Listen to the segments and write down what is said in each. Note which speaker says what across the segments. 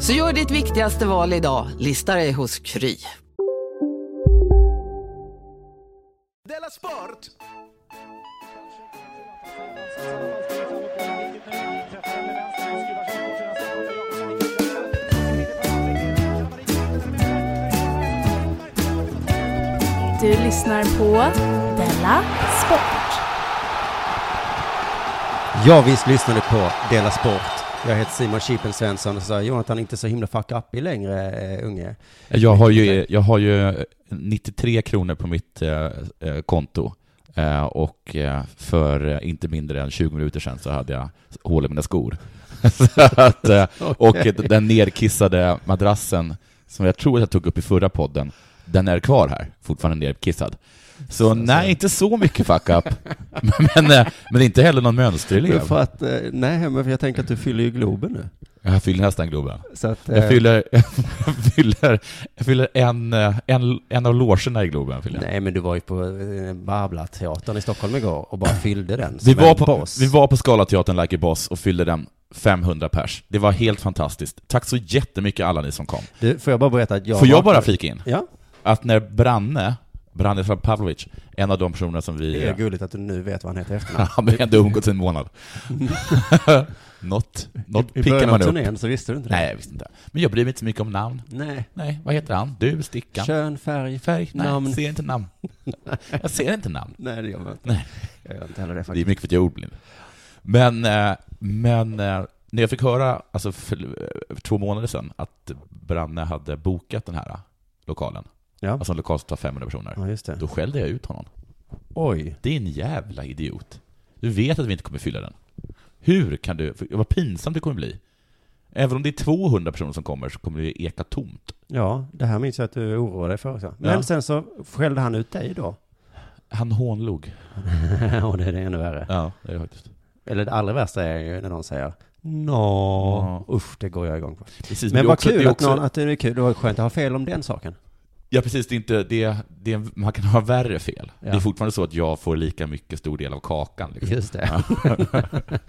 Speaker 1: Så gör ditt viktigaste val idag, listar dig hos Kry.
Speaker 2: Du lyssnar på Della Sport.
Speaker 3: Jag visst lyssnade på Dela Sport. Jag heter Simon Chipen Svensson och sa Jonathan är inte så himla fuck up i längre, eh, unge.
Speaker 4: Jag har, ju, jag har ju 93 kronor på mitt eh, eh, konto eh, och eh, för eh, inte mindre än 20 minuter sedan så hade jag hål i mina skor. så att, eh, och den nerkissade madrassen som jag tror att jag tog upp i förra podden, den är kvar här, fortfarande nerkissad. Så nej, inte så mycket fuck up. men, eh, men inte heller någon
Speaker 3: Men
Speaker 4: mönsterelev.
Speaker 3: För att, eh, nej, men för jag tänker att du fyller ju Globen nu.
Speaker 4: Jag fyller nästan Globen.
Speaker 3: Så att, eh,
Speaker 4: Jag fyller, jag fyller, jag fyller en, eh, en, en av logerna i Globen. Fyller jag.
Speaker 3: Nej, men du var ju på eh, Babbla-teatern i Stockholm igår och bara fyllde den
Speaker 4: Vi
Speaker 3: som
Speaker 4: var,
Speaker 3: en
Speaker 4: på,
Speaker 3: boss.
Speaker 4: vi var på Scalateatern Like a Boss och fyllde den 500 pers. Det var helt fantastiskt. Tack så jättemycket alla ni som kom.
Speaker 3: Du, får jag bara berätta att jag...
Speaker 4: Får jag
Speaker 3: vaknade-
Speaker 4: bara flika in?
Speaker 3: Ja,
Speaker 4: Att när Branne, Branne Pavlovic, en av de personer som vi...
Speaker 3: det är gulligt att du nu vet vad han heter i efternamn.
Speaker 4: Ja, men vi har inte umgåtts i en månad. Något, något
Speaker 3: I början
Speaker 4: pickar
Speaker 3: av
Speaker 4: man upp.
Speaker 3: turnén så visste du inte det.
Speaker 4: Nej, jag visste inte. Men jag bryr mig inte så mycket om namn.
Speaker 3: Nej.
Speaker 4: Nej, vad heter han? Du, Stickan?
Speaker 3: Kön, färg,
Speaker 4: Färg? Nej,
Speaker 3: namn.
Speaker 4: jag ser inte namn. Jag ser inte namn.
Speaker 3: Nej, det gör man inte.
Speaker 4: Nej.
Speaker 3: Jag gör inte heller det
Speaker 4: Det är
Speaker 3: faktiskt.
Speaker 4: mycket för att jag är ordblind. Men, eh, men eh, när jag fick höra, alltså för, eh, för två månader sedan, att Branne hade bokat den här eh, lokalen,
Speaker 3: Ja.
Speaker 4: alltså en lokal som tar 500 personer,
Speaker 3: ja, just det.
Speaker 4: då skällde jag ut honom.
Speaker 3: Oj.
Speaker 4: Din jävla idiot. Du vet att vi inte kommer fylla den. Hur kan du, för vad pinsamt det kommer bli. Även om det är 200 personer som kommer så kommer det eka tomt.
Speaker 3: Ja, det här minns jag att du oroade dig för också. Men
Speaker 4: Ja.
Speaker 3: sen så skällde han ut dig då.
Speaker 4: Han hånlog.
Speaker 3: och det är det ännu värre.
Speaker 4: Ja, det är det faktiskt.
Speaker 3: Eller det allra värsta är ju när någon säger Nå, usch det går jag igång på.
Speaker 4: Precis,
Speaker 3: Men
Speaker 4: det är
Speaker 3: vad
Speaker 4: också- det
Speaker 3: kul
Speaker 4: är
Speaker 3: att
Speaker 4: också-
Speaker 3: någon, att det är kul, det var skönt att ha fel om den saken.
Speaker 4: Ja precis, det är inte, det, det, är- man kan ha värre fel.
Speaker 3: Ja.
Speaker 4: Det är fortfarande så att jag får lika mycket stor del av kakan. Liksom.
Speaker 3: Just det.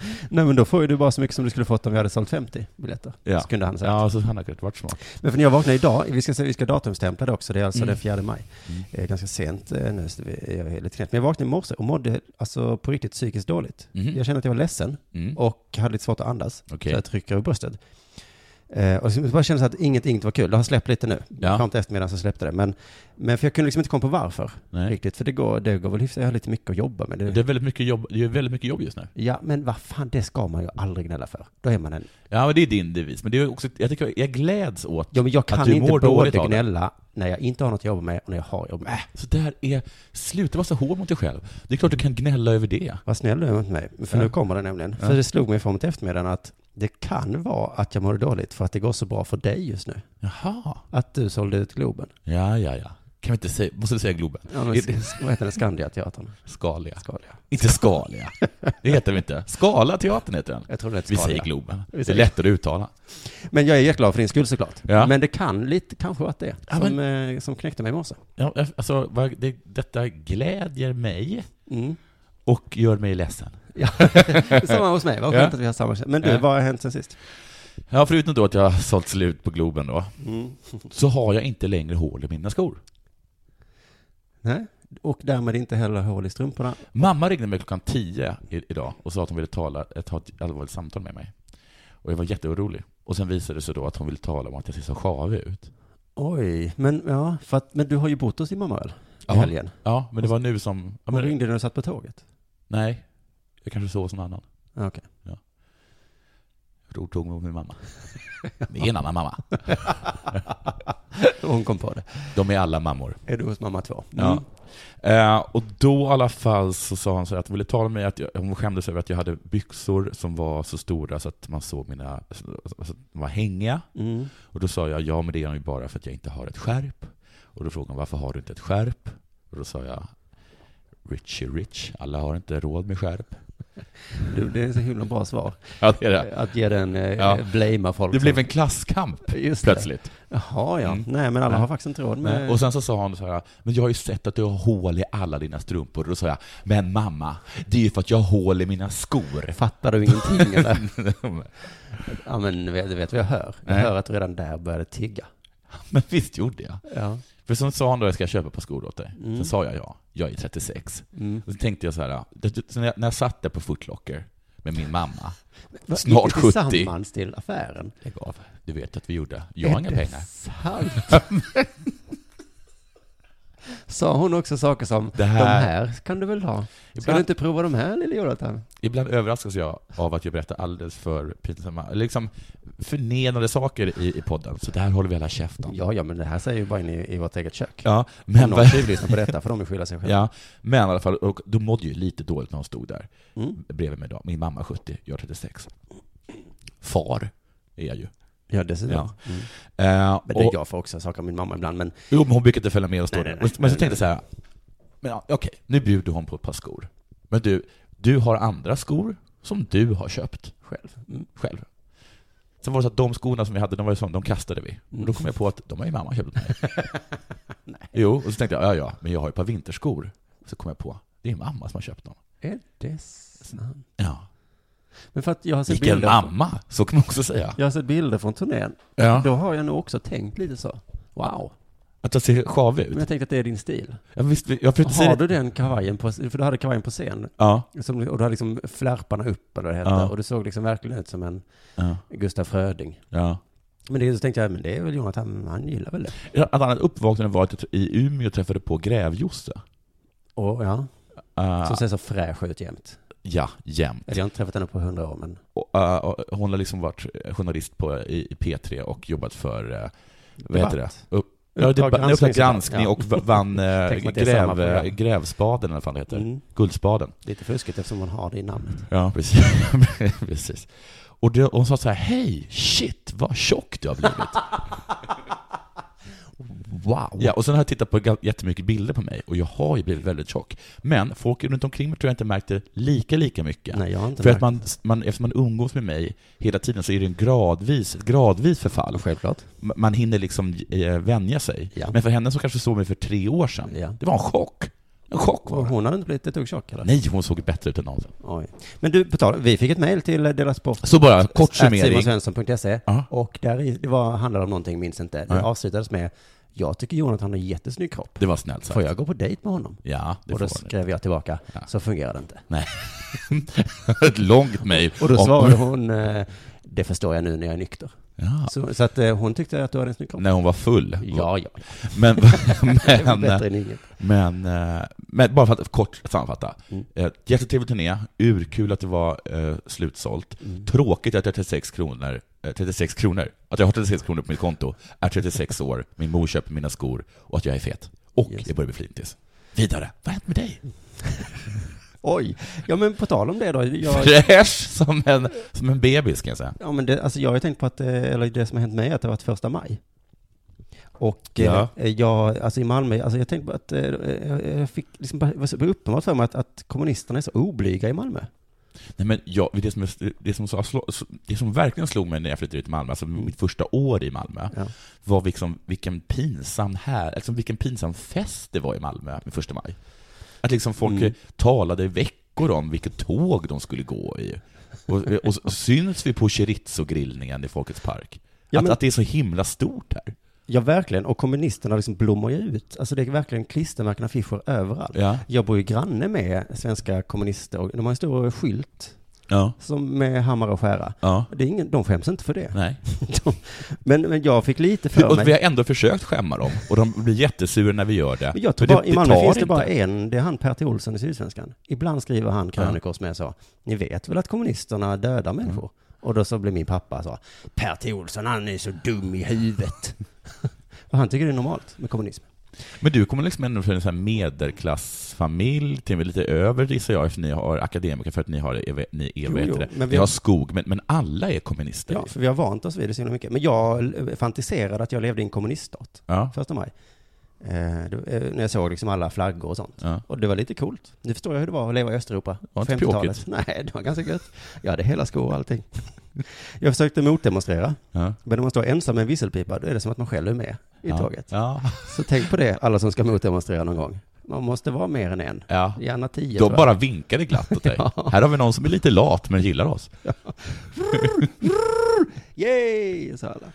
Speaker 3: Nej men då får ju du bara så mycket som du skulle fått om vi hade sålt 50 biljetter.
Speaker 4: Ja.
Speaker 3: Så kunde han säga.
Speaker 4: Ja, så han har kunnat varit smart.
Speaker 3: Men för när jag vaknade idag, vi ska, se- vi ska datumstämpla det också, det är alltså
Speaker 4: Mm.
Speaker 3: den 4 maj.
Speaker 4: Mm.
Speaker 3: Eh, ganska sent eh, nu, så vi- jag är lite knäpp. Men jag vaknade i morse och mådde alltså på riktigt psykiskt dåligt.
Speaker 4: Mhm.
Speaker 3: Jag kände att jag var ledsen
Speaker 4: Mm.
Speaker 3: och hade lite svårt att andas.
Speaker 4: Okej.
Speaker 3: Så jag trycker i bröstet. Eh, och så bara kändes det att inget, inget var kul. Det har släppt lite nu.
Speaker 4: Ja.
Speaker 3: Fram till eftermiddagen så släppte det. Men, men för jag kunde liksom inte komma på varför
Speaker 4: Nej.
Speaker 3: riktigt. För det går, det går väl hyfsat. Jag har lite mycket att jobba med. Det,
Speaker 4: Det är väldigt mycket jobb, det är väldigt mycket jobb just nu.
Speaker 3: Ja, men vad fan, det ska man ju aldrig gnälla för. Då är man en...
Speaker 4: Ja, men det är din devis. Men det är också, jag, tycker, jag gläds åt
Speaker 3: Ja, men jag
Speaker 4: Att
Speaker 3: kan
Speaker 4: du
Speaker 3: inte
Speaker 4: mår
Speaker 3: både
Speaker 4: dåligt av det.
Speaker 3: gnälla när jag inte har något att jobba med och när jag har jobb Äh, med.
Speaker 4: så där är, sluta vara så hård mot dig själv. Det är klart du kan gnälla över det.
Speaker 3: Vad snäll du är mot mig. För
Speaker 4: Ja.
Speaker 3: nu kommer det nämligen.
Speaker 4: Ja.
Speaker 3: För det slog mig fram till eftermiddagen att det kan vara att jag mår dåligt för att det går så bra för dig just nu.
Speaker 4: Jaha.
Speaker 3: Att du sålde ut Globen.
Speaker 4: Ja, ja, ja. Kan vi inte säga, måste du säga Globen?
Speaker 3: Ja, men, vad heter den? Skandiateatern?
Speaker 4: Skaliga.
Speaker 3: Skalia.
Speaker 4: Inte Skalia. Det heter vi inte. Skalateatern heter den.
Speaker 3: Jag tror den heter
Speaker 4: Vi
Speaker 3: Skalia.
Speaker 4: säger Globen.
Speaker 3: Vi
Speaker 4: Det är
Speaker 3: säger-
Speaker 4: lättare att uttala.
Speaker 3: Men jag är jätteglad för din skull såklart.
Speaker 4: Ja.
Speaker 3: Men det kan lite kanske vara att det
Speaker 4: Ja,
Speaker 3: som, eh, som knäckte mig i morse.
Speaker 4: Ja, alltså, vad- det, detta glädjer mig
Speaker 3: Mm.
Speaker 4: och gör mig ledsen.
Speaker 3: Ja. samma hos mig, vad skönt
Speaker 4: Ja.
Speaker 3: att vi har samma Men du,
Speaker 4: Ja.
Speaker 3: vad har hänt sen sist?
Speaker 4: Ja, förutom då att jag har sålt slut på Globen då,
Speaker 3: Mm.
Speaker 4: så har jag inte längre hål i mina skor.
Speaker 3: Nej? Och därmed inte heller hål i strumporna.
Speaker 4: Mamma ringde mig klockan 10 i- idag och sa att hon ville tala, eh, ta ett allvarligt samtal med mig. Och jag var jätteorolig. Och sen visade det sig då att hon ville tala om att jag ser så sjavig ut.
Speaker 3: Oj, men ja, för att, men du har ju bott hos din mamma väl? I
Speaker 4: Ja.
Speaker 3: helgen?
Speaker 4: Ja, men det var nu som... Ja,
Speaker 3: Hon
Speaker 4: men,
Speaker 3: ringde när du satt på tåget?
Speaker 4: nej, jag kanske sov hos någon annan.
Speaker 3: Ja, Okej.
Speaker 4: Ror tog mot min mamma. Det är en annan mamma.
Speaker 3: Hon kom på det.
Speaker 4: De är alla mammor.
Speaker 3: Är du hos mamma två? Mm.
Speaker 4: Ja. Eh, och då i alla fall så sa hon så här att hon ville tala med mig, att jag, hon skämdes över att jag hade byxor som var så stora så att man såg mina, alltså, de var hängiga.
Speaker 3: Mm.
Speaker 4: Och då sa jag, ja men det är de ju bara för att jag inte har ett skärp. Och då frågade hon, varför har du inte ett skärp? Och då sa jag, Richie Rich, alla har inte råd med skärp.
Speaker 3: Du, det är så himla bra svar.
Speaker 4: Ja, det är det.
Speaker 3: Att ge den, eh,
Speaker 4: Ja.
Speaker 3: blamea folk.
Speaker 4: Det
Speaker 3: som-
Speaker 4: blev en klasskamp
Speaker 3: Just det.
Speaker 4: plötsligt.
Speaker 3: Jaha, ja.
Speaker 4: Mm.
Speaker 3: Nej, men alla
Speaker 4: Nej.
Speaker 3: har faktiskt inte råd med...
Speaker 4: Och sen så sa hon så här, men jag har ju sett att du har hål i alla dina strumpor. Och då sa jag, men mamma, det är ju för att jag har hål i mina skor.
Speaker 3: Fattar du ingenting eller? ja, men du vet, du vet vad jag hör. Jag
Speaker 4: Nej.
Speaker 3: hör att du redan där började tigga.
Speaker 4: Men visst gjorde jag.
Speaker 3: Ja.
Speaker 4: För sen sa han då, jag ska köpa ett par skor åt dig. Sen sa jag ja, jag är 36. Och så tänkte jag så här, det- det- så när jag- när jag satt där på Footlocker med min mamma,
Speaker 3: Va,
Speaker 4: Snart
Speaker 3: gick ni
Speaker 4: 70.
Speaker 3: tillsammans till affären.
Speaker 4: lägg av, du vet att vi gjorde, jag har inga pengar.
Speaker 3: Sant. Sa hon också saker som
Speaker 4: Det här-
Speaker 3: de här kan du väl ha? Ska
Speaker 4: Ibland-
Speaker 3: du inte prova de här lille Jonathan?
Speaker 4: Ibland överraskas jag av att jag berättar alldeles för pinsamma, eller liksom förnedrande saker i, i podden. Så det här håller vi alla käften.
Speaker 3: Ja, ja, men det här säger ju bara in i, i vårt eget kök.
Speaker 4: Ja,
Speaker 3: Men
Speaker 4: men,
Speaker 3: någon tjuvlyssnar på detta får de ju skylla sig själva.
Speaker 4: ja, men i alla fall, och då mådde jag ju lite dåligt när hon stod där bredvid mig då. Min mamma 70, jag 36. Far är jag ju.
Speaker 3: Ja, dessutom.
Speaker 4: Ja. Eh,
Speaker 3: Men det
Speaker 4: och-
Speaker 3: jag får också saker av min mamma ibland, men
Speaker 4: Jo, men hon brukar inte följa med och stå
Speaker 3: Nej,
Speaker 4: där.
Speaker 3: nej,
Speaker 4: men
Speaker 3: nej.
Speaker 4: så tänkte jag så här, men ja, okej, nu bjuder hon på ett par skor. Men du, du har andra skor som du har köpt
Speaker 3: själv.
Speaker 4: själv. Sen var det så att de skorna som vi hade, de var ju sådana, de kastade vi. Och
Speaker 3: Mm.
Speaker 4: då kom jag på att de har ju mamma köpt åt mig. Jo, och så tänkte jag, ja ja, men jag har ju ett par vinterskor. Så kom jag på, det är mamma som har köpt dem.
Speaker 3: Är det sant?
Speaker 4: Ja.
Speaker 3: Men för att jag har sett
Speaker 4: Vilken
Speaker 3: bilder...
Speaker 4: mamma, så kan man också säga.
Speaker 3: Jag har sett bilder från turnén.
Speaker 4: Ja.
Speaker 3: Då har jag nog också tänkt lite så. Wow.
Speaker 4: Att jag ser sjav
Speaker 3: Men
Speaker 4: ut.
Speaker 3: jag tänkte att det är din stil.
Speaker 4: Jag, visst, jag försökte säga
Speaker 3: Har
Speaker 4: det.
Speaker 3: du den kavajen på, för du hade kavajen på scen.
Speaker 4: Ja.
Speaker 3: Som, och du hade liksom flärparna upp eller vad det hette.
Speaker 4: Ja.
Speaker 3: Och du såg liksom verkligen ut som en
Speaker 4: Ja.
Speaker 3: Gustaf Fröding.
Speaker 4: ja.
Speaker 3: Men det, så tänkte jag, men det är väl Jonathan, han gillar väl det.
Speaker 4: Ett annat uppvaknande var att jag i Umeå träffade på Grävjosse.
Speaker 3: Och ja,
Speaker 4: Eh,
Speaker 3: som ser så fräsch ut jämt.
Speaker 4: Ja, jämt.
Speaker 3: Eller jag har inte träffat henne på hundra år, men
Speaker 4: Och, eh, och hon har liksom varit journalist på, i, i P3 och jobbat för, eh, vad heter det?
Speaker 3: Debatt.
Speaker 4: Upp, ja, det,
Speaker 3: Uppdrag
Speaker 4: granskning,
Speaker 3: granskning
Speaker 4: granskning och v- vann eh,
Speaker 3: Tänk mig att det är samma
Speaker 4: gräv,
Speaker 3: program.
Speaker 4: eh, Grävspaden, eller vad fan det heter.
Speaker 3: Mm.
Speaker 4: Guldspaden.
Speaker 3: lite fuskigt eftersom hon har det i namnet.
Speaker 4: Ja, precis. precis. Och det, hon sa så här, hej, shit vad tjock du har blivit.
Speaker 3: Wow.
Speaker 4: ja, och sen har jag tittat på ga- jättemycket bilder på mig och jag har ju blivit väldigt tjock. Men folk runt omkring mig tror jag inte märkte lika, lika mycket.
Speaker 3: Nej, jag har inte
Speaker 4: För att
Speaker 3: märkt
Speaker 4: man, man, eftersom man umgås med mig hela tiden så är det en gradvis, ett gradvis förfall.
Speaker 3: Självklart.
Speaker 4: M- Man hinner liksom eh, vänja sig.
Speaker 3: Ja.
Speaker 4: Men för henne som kanske såg mig för tre år sedan,
Speaker 3: Ja.
Speaker 4: det var en chock. En chock var
Speaker 3: Och
Speaker 4: det.
Speaker 3: hon hade inte blivit ett dugg tjock eller?
Speaker 4: Nej, hon såg bättre ut än någonsin.
Speaker 3: Oj. Men du, på tal, vi fick ett mejl till eh, Dela Sport.
Speaker 4: Så bara, kort summering.
Speaker 3: simonsvensson.se
Speaker 4: Ja.
Speaker 3: och där i, det var, handlade om någonting, minns inte. Det
Speaker 4: Ja.
Speaker 3: avslutades med, jag tycker Jonathan har jättesnygg kropp.
Speaker 4: Det var snällt sagt.
Speaker 3: Får jag gå på dejt med honom?
Speaker 4: Ja, det
Speaker 3: och då
Speaker 4: får hon.
Speaker 3: skrev jag tillbaka, så fungerar det inte.
Speaker 4: Nej. ett långt mejl.
Speaker 3: Och då
Speaker 4: om-
Speaker 3: svarade hon, eh, det förstår jag nu när jag är nykter.
Speaker 4: Ja.
Speaker 3: Så, så att eh, hon tyckte att du hade en snygg kropp.
Speaker 4: När hon var full.
Speaker 3: Ja, ja.
Speaker 4: Men,
Speaker 3: Det var bättre
Speaker 4: men,
Speaker 3: än inget.
Speaker 4: men, eh, men bara för att kort sammanfatta.
Speaker 3: Mm.
Speaker 4: Eh, Jättetrevlig turné, urkul att det var eh, slutsålt.
Speaker 3: Mm.
Speaker 4: Tråkigt att jag har 36 kronor, eh, 36 kronor, att jag har 36 kronor på mitt konto, är 36 år, min mor köper mina skor och att jag är fet. Och
Speaker 3: Just.
Speaker 4: jag börjar bli flintis. Vidare, vad har hänt med dig?
Speaker 3: Oj. Ja, men på tal om det då. Jag,
Speaker 4: Fräsch som en, som en bebis kan jag säga.
Speaker 3: Ja, men det, alltså jag har ju tänkt på att, eh, eller det som har hänt mig är att det har varit första maj. Och
Speaker 4: Ja.
Speaker 3: eh, jag, alltså i Malmö, alltså jag tänkte på att, eh, jag- jag fick liksom bara, det var så uppenbart för mig att, att kommunisterna är så oblyga i Malmö.
Speaker 4: Nej, men jag, det, som, det, som, så- så- det som verkligen slog mig när jag flyttade ut till Malmö, alltså mitt första år i Malmö,
Speaker 3: Mm. Ja.
Speaker 4: var liksom, vilken, pinsam här, alltså vilken pinsam fest det var i Malmö med första maj. Att liksom folk
Speaker 3: Mm.
Speaker 4: eh, talade i veckor om vilket tåg de skulle gå i. Och, och, och syns vi på chorizo-grillningen i Folkets park?
Speaker 3: Ja,
Speaker 4: att,
Speaker 3: men-
Speaker 4: att det är så himla stort här.
Speaker 3: Ja, verkligen. Och kommunisterna liksom blommar ju ut. Alltså det är verkligen klistermärken och affischer överallt.
Speaker 4: Ja.
Speaker 3: Jag bor ju granne med svenska kommunister och de har en stor skylt
Speaker 4: Ja.
Speaker 3: som med hammare och skära.
Speaker 4: Ja.
Speaker 3: Det är ingen, de skäms inte för det.
Speaker 4: Nej.
Speaker 3: De, men, men jag fick lite för
Speaker 4: Och vi
Speaker 3: mig.
Speaker 4: har ändå försökt skämma dem och de blir jättesura när vi gör det.
Speaker 3: Men Jag tror
Speaker 4: Men
Speaker 3: bara, I Malmö
Speaker 4: tar
Speaker 3: finns det bara
Speaker 4: inte.
Speaker 3: en, det är han Pertti Olsson i Sydsvenskan. Ibland skriver han krönikor som är så, ni vet väl att kommunisterna dödar
Speaker 4: Mm.
Speaker 3: människor? Och då så blir min pappa så, Pertti Olsson han är så dum i huvudet. och han tycker det är normalt med kommunism.
Speaker 4: Men du kommer liksom ändå från en sån här medelklassfamilj, till och med lite över gissar jag, eftersom ni har akademiker, för att ni har är- ni är,
Speaker 3: Jo,
Speaker 4: vad
Speaker 3: jo,
Speaker 4: heter det?
Speaker 3: men
Speaker 4: men
Speaker 3: vi
Speaker 4: ni
Speaker 3: har-
Speaker 4: har skog, men, men alla är kommunister. liksom.
Speaker 3: Ja, för vi har vant oss vid det så himla mycket. Men jag fantiserade att jag levde i en kommuniststat,
Speaker 4: Ja.
Speaker 3: första maj. Eh, då, eh, när jag såg liksom alla flaggor och sånt.
Speaker 4: Ja.
Speaker 3: Och det var lite coolt. Nu förstår jag hur det var att leva i Östeuropa.
Speaker 4: Var inte
Speaker 3: 50-talet. Nej, det var ganska gött. Jag hade hela skor och allting. Jag försökte motdemonstrera.
Speaker 4: Ja.
Speaker 3: Men när man står ensam med en visselpipa, då är det som att man själv är med i tåget.
Speaker 4: Ja.
Speaker 3: Så tänk på det, alla som ska motdemonstrera någon gång. Man måste vara mer än en.
Speaker 4: Ja.
Speaker 3: Gärna tio. tror
Speaker 4: De
Speaker 3: jag.
Speaker 4: bara vinkade glatt åt dig.
Speaker 3: Ja.
Speaker 4: Här har vi någon som är lite lat, men gillar oss.
Speaker 3: Yay! sa alla.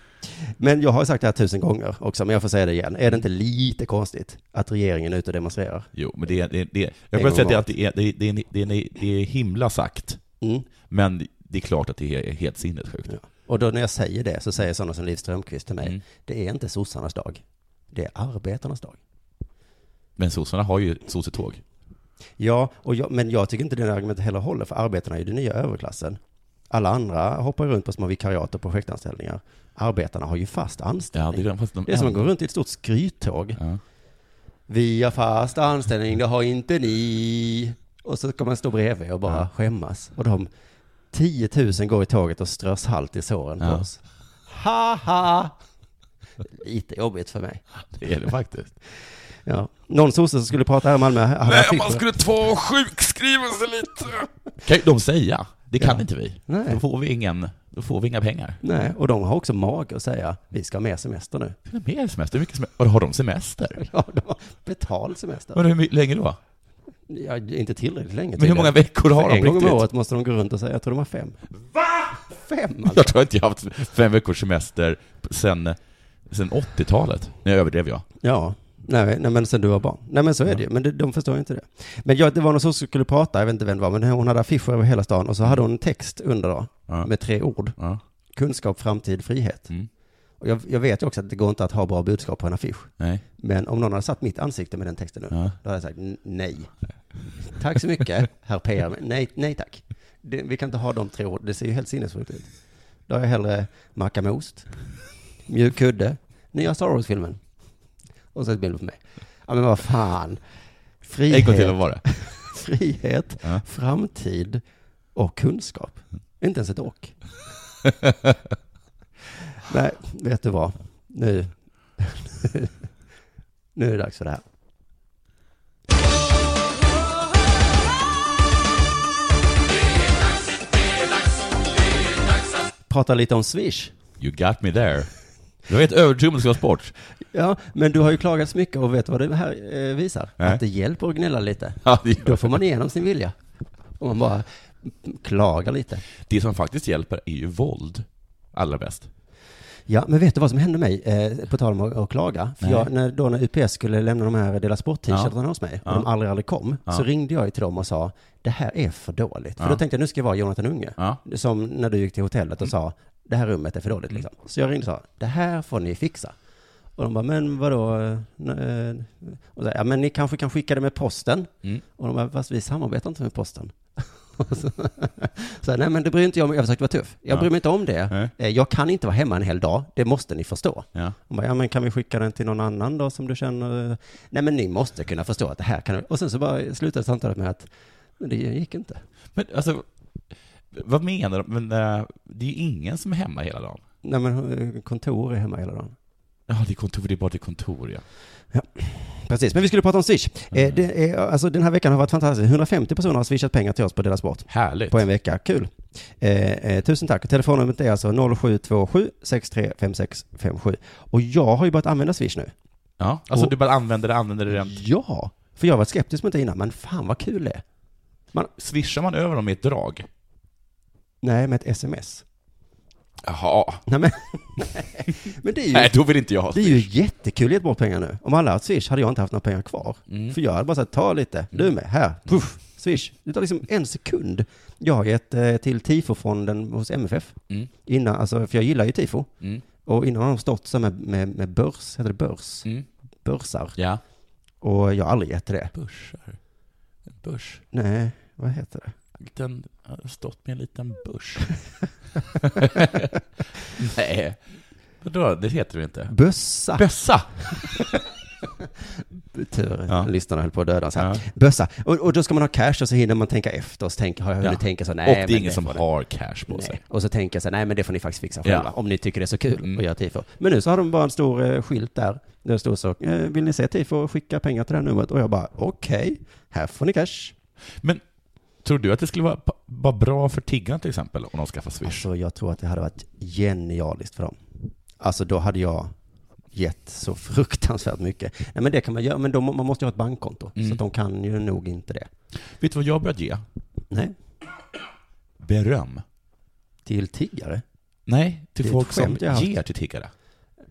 Speaker 3: Men jag har ju sagt det här tusen gånger också, men jag får säga det igen. Är det inte lite konstigt att regeringen är ute och demonstrerar?
Speaker 4: Jo, men det är... Det, är- det, är-
Speaker 3: En
Speaker 4: jag kan
Speaker 3: gång
Speaker 4: säga
Speaker 3: om
Speaker 4: att det är, det, är, det, är, det, är, det är himla sagt,
Speaker 3: Mm.
Speaker 4: men det är klart att det är helt sinnessjukt.
Speaker 3: Ja. Och då när jag säger det så säger sådana som Liv Strömquist till mig,
Speaker 4: Mm.
Speaker 3: det är inte sossarnas dag. Det är arbetarnas dag.
Speaker 4: Men sossarna har ju sossetåg.
Speaker 3: Ja, och jag, men jag tycker inte det argumentet heller håller, för arbetarna är ju den nya överklassen. Alla andra hoppar runt på små vikariat och projektanställningar. Arbetarna har ju fast anställning.
Speaker 4: Ja, det, är, fast de
Speaker 3: Det är som att gå runt i ett stort skryttåg.
Speaker 4: Ja.
Speaker 3: Vi har fast anställning, det har inte ni. Och så kommer man stå bredvid och bara skämmas. Och de 10 000 går i tåget och strör salt i såren på
Speaker 4: Ja.
Speaker 3: oss. Haha! Lite jobbigt för mig.
Speaker 4: Det är det faktiskt.
Speaker 3: Ja. Någon sosse som skulle prata här i Malmö, han
Speaker 4: Nej,
Speaker 3: fick-
Speaker 4: man skulle ta och sjukskriva sig lite. Kan ju de säga. Det kan inte vi.
Speaker 3: Nej.
Speaker 4: Då, får vi ingen, då får vi inga pengar.
Speaker 3: Nej, och de har också mage att säga, vi ska ha mer semester nu.
Speaker 4: Det är mer semester. Hur mycket semester? Och har de semester?
Speaker 3: Ja, de har betald semester.
Speaker 4: Men hur my- länge då?
Speaker 3: Ja, det är inte tillräckligt länge.
Speaker 4: Men hur
Speaker 3: tydligen.
Speaker 4: många veckor har
Speaker 3: För
Speaker 4: de
Speaker 3: en gång
Speaker 4: riktigt?
Speaker 3: om året måste de gå runt och säga, jag tror de har fem. Va? Fem alltså.
Speaker 4: Jag tror inte jag har haft fem veckors semester sen, sen 80-talet. Nu överdrev jag.
Speaker 3: Ja, nej, nej men sen du var barn. Nej men så är det ju, men det, de förstår ju inte det. Men jag, det var någon som skulle prata, jag vet inte vem det var, men hon hade affischer över hela stan och så hade hon en text under då,
Speaker 4: Ja.
Speaker 3: med tre ord.
Speaker 4: Ja.
Speaker 3: Kunskap, framtid, frihet.
Speaker 4: Mm.
Speaker 3: Och jag, jag vet ju också att det går inte att ha bra budskap på en affisch.
Speaker 4: Nej.
Speaker 3: Men om någon hade satt mitt ansikte med den texten nu,
Speaker 4: Ja.
Speaker 3: då hade jag sagt "N- nej. Tack så mycket, herr PM. Nej, nej tack. Det, vi kan inte ha de tre orden, det ser ju helt sinnessjukt ut. Då har jag hellre macka med ost, mjuk kudde, nya Star Wars-filmen. Och så ett bild på mig. Ja men vad fan.
Speaker 4: En gång till
Speaker 3: Frihet,
Speaker 4: vad var det?
Speaker 3: frihet
Speaker 4: Ja.
Speaker 3: framtid och kunskap. Inte ens ett och. Nej, vet du vad? Nu. nu är det dags för det här. Prata lite om Swish.
Speaker 4: You got me there. Jag vet övertygad om det ska vara sport.
Speaker 3: Ja, men du har ju klagats mycket och vet vad det här eh, visar?
Speaker 4: Nej.
Speaker 3: Att det hjälper att gnälla lite.
Speaker 4: Ja, det gör
Speaker 3: Då får man igenom sin vilja. Om man bara klagar lite.
Speaker 4: Det som faktiskt hjälper är ju våld. Allra bäst.
Speaker 3: Ja, men vet du vad som hände mig, eh, på tal om att, att klaga? För
Speaker 4: Nej.
Speaker 3: jag, när, då när UPS skulle lämna de här Dela Sport-t-shirtarna hos mig, och
Speaker 4: Ja.
Speaker 3: de aldrig, aldrig kom, så ringde jag ju till dem och sa, det här är för dåligt. För då tänkte jag, nu ska jag vara Jonathan Unge.
Speaker 4: Ja.
Speaker 3: Som när du gick till hotellet och sa, det här rummet är för dåligt liksom. Så jag ringde och sa, det här får ni fixa. Och de bara, men vadå? eh, eh, Och så, ja, men ni kanske kan skicka det med posten? Och de bara, fast vi samarbetar inte med posten. Och så, så nej men det bryr inte jag mig Jag försökte vara tuff. Jag bryr mig inte om det.
Speaker 4: Nej.
Speaker 3: Eh, Jag kan inte vara hemma en hel dag. Det måste ni förstå.
Speaker 4: Ja.
Speaker 3: Hon bara, ja men kan vi skicka den till någon annan då som du känner? Nej men ni måste kunna förstå att det här kan... Och sen så bara slutade samtalet med att, men det gick inte.
Speaker 4: Men alltså, vad menar de? Men eh, det är ju ingen som är hemma hela dagen.
Speaker 3: Nej men eh, kontor är hemma hela dagen.
Speaker 4: Ja, det är kontor, det är bara till kontor ja.
Speaker 3: Precis, men vi skulle prata om Swish.
Speaker 4: Mm.
Speaker 3: Eh, det är, alltså, den här veckan har varit fantastisk. 150 personer har swishat pengar till oss på Dela Sport
Speaker 4: Härligt.
Speaker 3: på en vecka. Kul. Eh, eh, tusen tack. Telefonnumret är alltså 0727 635657. Och jag har ju börjat använda Swish nu.
Speaker 4: Ja, alltså
Speaker 3: Och-
Speaker 4: du bara använder det, använder det rent.
Speaker 3: Ja, för jag var skeptisk mot det innan, men fan vad kul det är.
Speaker 4: Swishar man över dem i ett drag?
Speaker 3: Nej, med ett sms.
Speaker 4: Jaha.
Speaker 3: Nej, men, men det är ju...
Speaker 4: Nej, då vill inte jag ha
Speaker 3: Det är ju jättekul att ge
Speaker 4: Mm.
Speaker 3: bort pengar nu. Om alla hade haft Swish hade jag inte haft några pengar kvar. För jag hade bara sagt, ta lite, du med, här, puff, Swish. Det tar liksom en sekund. Jag har gett eh, till tifofonden hos MFF.
Speaker 4: Mm.
Speaker 3: Innan, alltså, för jag gillar ju tifo.
Speaker 4: Mm.
Speaker 3: Och innan har de stått så här med, med, med börs, heter det börs?
Speaker 4: Mm.
Speaker 3: Börsar.
Speaker 4: Ja.
Speaker 3: Och jag har aldrig gett till det.
Speaker 4: Börsar. En börs.
Speaker 3: Nej, vad heter det?
Speaker 4: Liten, jag har stått med en liten börs. Nej. Vadå, det heter det inte.
Speaker 3: Bössa.
Speaker 4: Bössa!
Speaker 3: Tur,
Speaker 4: Ja.
Speaker 3: lyssnarna höll på att döda oss här.
Speaker 4: Ja.
Speaker 3: Bössa. Och, och då ska man ha cash och så hinner man tänka efter. Och så tänker, har jag hunnit
Speaker 4: Ja.
Speaker 3: tänka så? Nej,
Speaker 4: och det
Speaker 3: men
Speaker 4: är ingen som
Speaker 3: får ni-
Speaker 4: har cash på sig.
Speaker 3: Nej. Och så tänker jag så här, nej men det får ni faktiskt fixa
Speaker 4: Ja.
Speaker 3: själva, om ni tycker det är så kul
Speaker 4: Mm.
Speaker 3: att göra tifo. Men nu så har de bara en stor eh, skylt där, där det står så, eh, vill ni se tifo, skicka pengar till det här numret. Och jag bara, okej, här får ni cash.
Speaker 4: Men tror du att det skulle vara, vara bra för tiggarna till exempel, om de skaffar Swish?
Speaker 3: Alltså jag tror att det hade varit genialiskt för dem. Alltså då hade jag gett så fruktansvärt mycket. Nej men det kan man göra, men då, må- man måste ju ha ett bankkonto,
Speaker 4: Mm.
Speaker 3: så att de kan ju nog inte det.
Speaker 4: Vet du vad jag börjat ge?
Speaker 3: Nej,
Speaker 4: Beröm.
Speaker 3: till tiggare.
Speaker 4: Nej, till
Speaker 3: Det är
Speaker 4: folk
Speaker 3: ett
Speaker 4: som
Speaker 3: skämt jag har haft.
Speaker 4: ger till tiggare.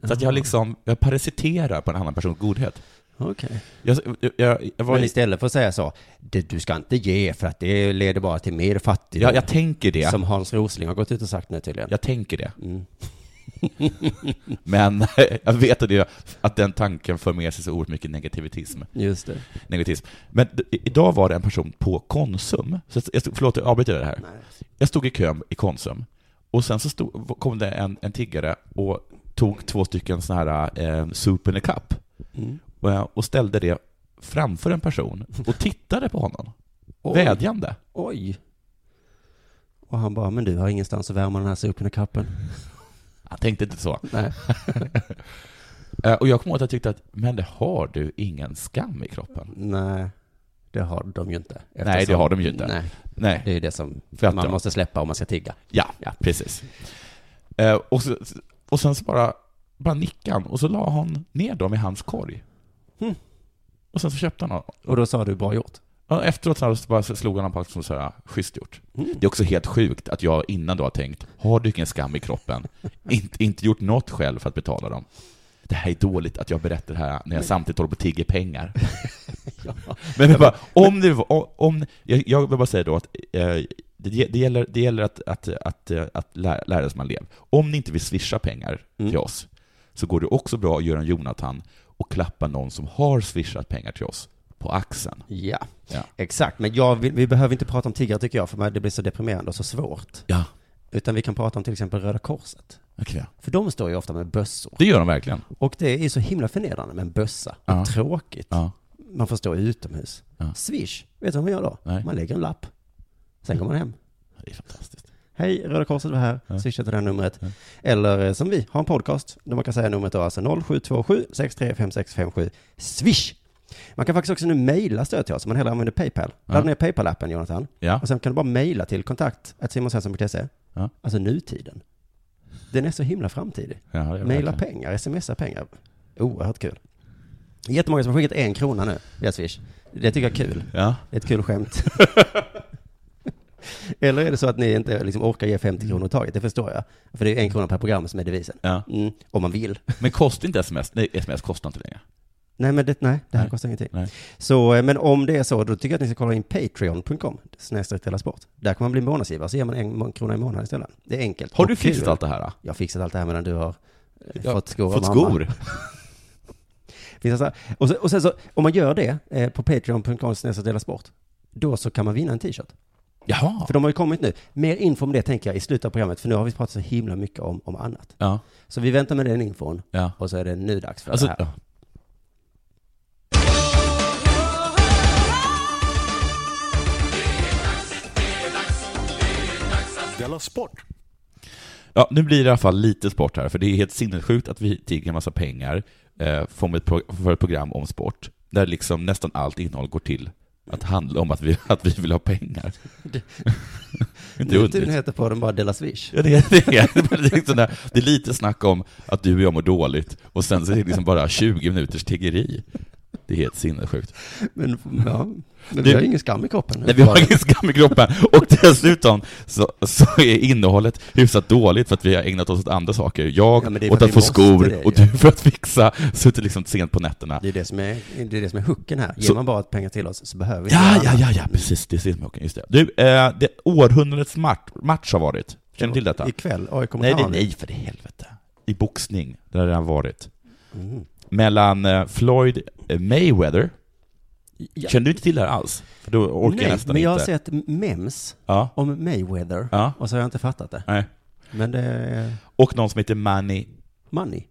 Speaker 4: Så att jag liksom, jag parasiterar på en annan persons godhet.
Speaker 3: Okej.
Speaker 4: Jag, jag, jag, jag, var,
Speaker 3: Men
Speaker 4: i-
Speaker 3: istället för att säga så, "Det- du ska inte ge för att det leder bara till mer fattigdom.
Speaker 4: jag, jag tänker det.
Speaker 3: Som Hans Rosling har gått ut och sagt nu tydligen.
Speaker 4: Jag tänker det.
Speaker 3: Mm.
Speaker 4: Men jag vet att, det, att den tanken för med sig så oerhört mycket negativitism.
Speaker 3: Just det.
Speaker 4: negativism. Men d- i- idag var det en person på Konsum, så jag stod, förlåt jag avbryter det här. Jag stod i kön i Konsum, och sen så stod, kom det en, en tiggare och tog två stycken sådana här eh, soup in a cup
Speaker 3: Mm.
Speaker 4: och, eh, och ställde det framför en person och tittade på honom.
Speaker 3: Oj.
Speaker 4: Vädjande.
Speaker 3: Oj. Och han bara, men du har ingenstans att värma den här sopen i kappen.
Speaker 4: Jag tänkte inte så.
Speaker 3: Nej.
Speaker 4: Eh, och jag kom ihåg att jag tyckte att, men det har du ingen skam i kroppen?
Speaker 3: Nej, det har de ju inte.
Speaker 4: Nej, det har de ju inte.
Speaker 3: Nej,
Speaker 4: Nej.
Speaker 3: det är ju det som
Speaker 4: För att
Speaker 3: man
Speaker 4: de-
Speaker 3: måste släppa om man ska tigga.
Speaker 4: Ja,
Speaker 3: Ja.
Speaker 4: precis. Eh, och, så, och sen så bara, bara nickade han och så la han ner dem i hans korg.
Speaker 3: Hmm.
Speaker 4: Och sen så köpte han dem.
Speaker 3: Och då sa du, bra gjort.
Speaker 4: Och efteråt så, här, så bara slog han honom på axeln och sa schysst gjort.
Speaker 3: Mm.
Speaker 4: Det är också helt sjukt att jag innan då har tänkt, har du ingen skam i kroppen? inte, inte gjort något själv för att betala dem. Det här är dåligt att jag berättar det här när jag samtidigt håller på och tigger pengar. Men jag bara, om det var, om- om, jag, jag vill bara säga då att eh, det, ge- det gäller, det gäller att, att, att, eh, att lära, lära sig man lev. Om ni inte vill swisha pengar
Speaker 3: Mm.
Speaker 4: till oss, så går det också bra att göra en Jonathan och klappa någon som har swishat pengar till oss på axeln.
Speaker 3: Ja.
Speaker 4: Ja.
Speaker 3: exakt. Men jag vill, vi behöver inte prata om tiggare tycker jag, för det blir så deprimerande och så svårt.
Speaker 4: Ja,
Speaker 3: Utan vi kan prata om till exempel Röda Korset.
Speaker 4: okej.
Speaker 3: För de står ju ofta med bössor.
Speaker 4: Det gör de verkligen.
Speaker 3: Och det är så himla förnedrande med en bössa. Och
Speaker 4: Ja.
Speaker 3: tråkigt.
Speaker 4: Ja.
Speaker 3: Man får stå utomhus.
Speaker 4: Ja.
Speaker 3: Swish, vet du vad man gör då?
Speaker 4: Nej.
Speaker 3: Man lägger en lapp. Sen går man hem.
Speaker 4: Det är fantastiskt.
Speaker 3: Hej, Röda Korset var här. Swisha till det här numret. Eller eh, som vi, har en podcast där man kan säga numret då, alltså 0727 635657. Swish! Man kan faktiskt också nu mejla stöd till oss om man hellre använder Paypal. Ladda ner Paypal-appen, Jonathan.
Speaker 4: Ja.
Speaker 3: Och sen kan du bara mejla till kontakt simonsvensson.se.
Speaker 4: Ja.
Speaker 3: Alltså nutiden. Den är så himla framtidig.
Speaker 4: Ja, det gör det
Speaker 3: Mejla
Speaker 4: verkligen.
Speaker 3: pengar, smsa pengar. Oerhört kul. Jättemånga som har skickat en krona nu via Swish. Det tycker jag är kul.
Speaker 4: Ja.
Speaker 3: Det är ett kul skämt. Eller är det så att ni inte liksom orkar ge 50 kronor i taget? Det förstår jag. För det är en krona per program som är devisen.
Speaker 4: Ja.
Speaker 3: Mm, om man vill.
Speaker 4: Men kostar inte sms? Nej, sms kostar inte längre.
Speaker 3: Nej, men det, nej, det här
Speaker 4: Nej.
Speaker 3: kostar ingenting.
Speaker 4: Nej.
Speaker 3: Så, eh, men om det är så, då tycker jag att ni ska kolla in patreon.com, snedstreck Della sport. Där kan man bli månadsgivare, så ger man en må- krona i månaden istället. Det är enkelt.
Speaker 4: Har du
Speaker 3: Och kul.
Speaker 4: fixat allt det här? då?
Speaker 3: Jag har fixat allt det här medan du har eh,
Speaker 4: Jag har
Speaker 3: fått skor av
Speaker 4: Fått
Speaker 3: mamma.
Speaker 4: skor?
Speaker 3: Finns det så här- och, sen, och sen så, om man gör det eh, på patreon.com, snedstreck Della sport, då så kan man vinna en t-shirt.
Speaker 4: Jaha.
Speaker 3: För de har ju kommit nu. Mer info om det tänker jag i slutet av programmet, för nu har vi pratat så himla mycket om, om annat.
Speaker 4: Ja.
Speaker 3: Så vi väntar med den infon,
Speaker 4: Ja.
Speaker 3: och så är det nu dags för
Speaker 4: Alltså,
Speaker 3: det här.
Speaker 4: ja.
Speaker 5: Della Sport.
Speaker 4: Ja, nu blir det i alla fall lite sport här, för det är helt sinnessjukt att vi tigger en massa pengar eh, för, ett pro- för ett program om sport, där liksom nästan allt innehåll går till att handla om att vi, att vi vill ha pengar. Inte
Speaker 3: Nu tydligen
Speaker 4: underligt.
Speaker 3: heter podden bara Della Swish.
Speaker 4: Ja, det, är, det, är, det, är liksom där, det är lite snack om att du och jag mår dåligt, och sen så är det liksom bara 20 minuters tiggeri. Det Det är helt sinnessjukt.
Speaker 3: Men ja, men
Speaker 4: Du-
Speaker 3: vi har ingen skam i kroppen.
Speaker 4: Nej, vi har ingen skam i kroppen och dessutom så, så är innehållet hyfsat dåligt för att vi har ägnat oss åt andra saker. Jag
Speaker 3: Ja, men det är för att
Speaker 4: åt att
Speaker 3: vi
Speaker 4: få
Speaker 3: måste
Speaker 4: skor
Speaker 3: det,
Speaker 4: och
Speaker 3: ja.
Speaker 4: du för att fixa, suttit liksom sent på nätterna.
Speaker 3: Det är det som är, det är, det som är hooken här. Ger
Speaker 4: Så-
Speaker 3: man bara ett pengar till oss så behöver vi
Speaker 4: Ja,
Speaker 3: göra
Speaker 4: ja,
Speaker 3: annat.
Speaker 4: ja, ja, precis. Det är simhockey, just det. Du, eh, det århundradets match, match har varit. Känner du till detta?
Speaker 3: Ikväll, AIK mot
Speaker 4: Nej, nej,
Speaker 3: Hammarby.
Speaker 4: nej, för i helvete. I boxning, där har det redan varit.
Speaker 3: Mm.
Speaker 4: Mellan eh, Floyd Mayweather,
Speaker 3: Ja.
Speaker 4: känner du inte till det här alls? För då orkar
Speaker 3: Nej,
Speaker 4: jag nästan
Speaker 3: men jag har
Speaker 4: inte.
Speaker 3: sett memes
Speaker 4: Ja,
Speaker 3: om Mayweather
Speaker 4: ja,
Speaker 3: och så har jag inte fattat det.
Speaker 4: nej.
Speaker 3: Men det är
Speaker 4: Och någon som heter Manny,
Speaker 3: money,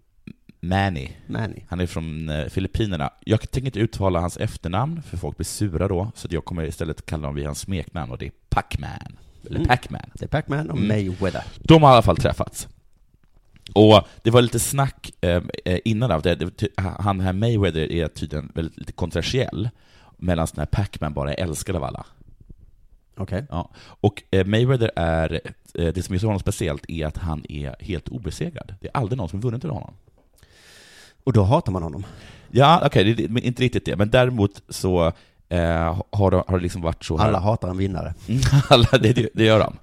Speaker 4: Manny.
Speaker 3: money.
Speaker 4: Han är från eh, Filippinerna. Jag tänker inte uttala hans efternamn, för folk blir sura då, så att jag kommer istället kalla honom vid hans smeknamn, och det är Pacman. Eller
Speaker 3: Mm.
Speaker 4: Pacman.
Speaker 3: Det är Pacman och
Speaker 4: Mm.
Speaker 3: Mayweather.
Speaker 4: De har i alla fall träffats. Och det var lite snack eh, eh, innan av det. det ty- han här Mayweather är tydligen väldigt lite kontroversiell, medan den här Pacman bara är älskad av alla.
Speaker 3: Okej.
Speaker 4: Ja. Och eh, Mayweather är, eh, det som gör honom speciellt är att han är helt obesegrad. Det är aldrig någon som vunnit över honom.
Speaker 3: Och då hatar man honom.
Speaker 4: Ja, okej, det- det- men inte riktigt det. Men däremot så eh, har, det, har det liksom varit så här. Mm.
Speaker 3: Alla hatar en vinnare.
Speaker 4: alla det, det- det gör de.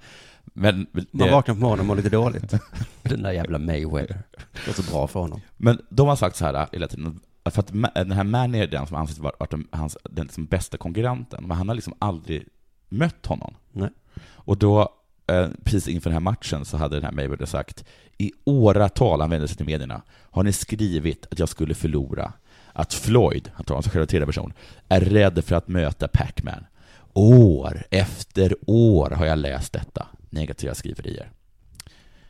Speaker 4: Men,
Speaker 3: Man
Speaker 4: det,
Speaker 3: vaknar på morgonen och mår lite dåligt. Den där jävla Mayweather. Det går så bra för honom.
Speaker 4: men de har sagt så här hela tiden, för att Ma- den här Manny är den som anses vara vara den, hans, den liksom bästa konkurrenten, men han har liksom aldrig mött honom.
Speaker 3: Nej.
Speaker 4: Och då, eh, precis inför den här matchen, så hade den här Mayweather sagt i åratal, han vände sig till medierna, har ni skrivit att jag skulle förlora? Att Floyd, han talar om sig själv i tredje person, är rädd för att möta Pac-Man. År efter år har jag läst detta, negativa skriverier.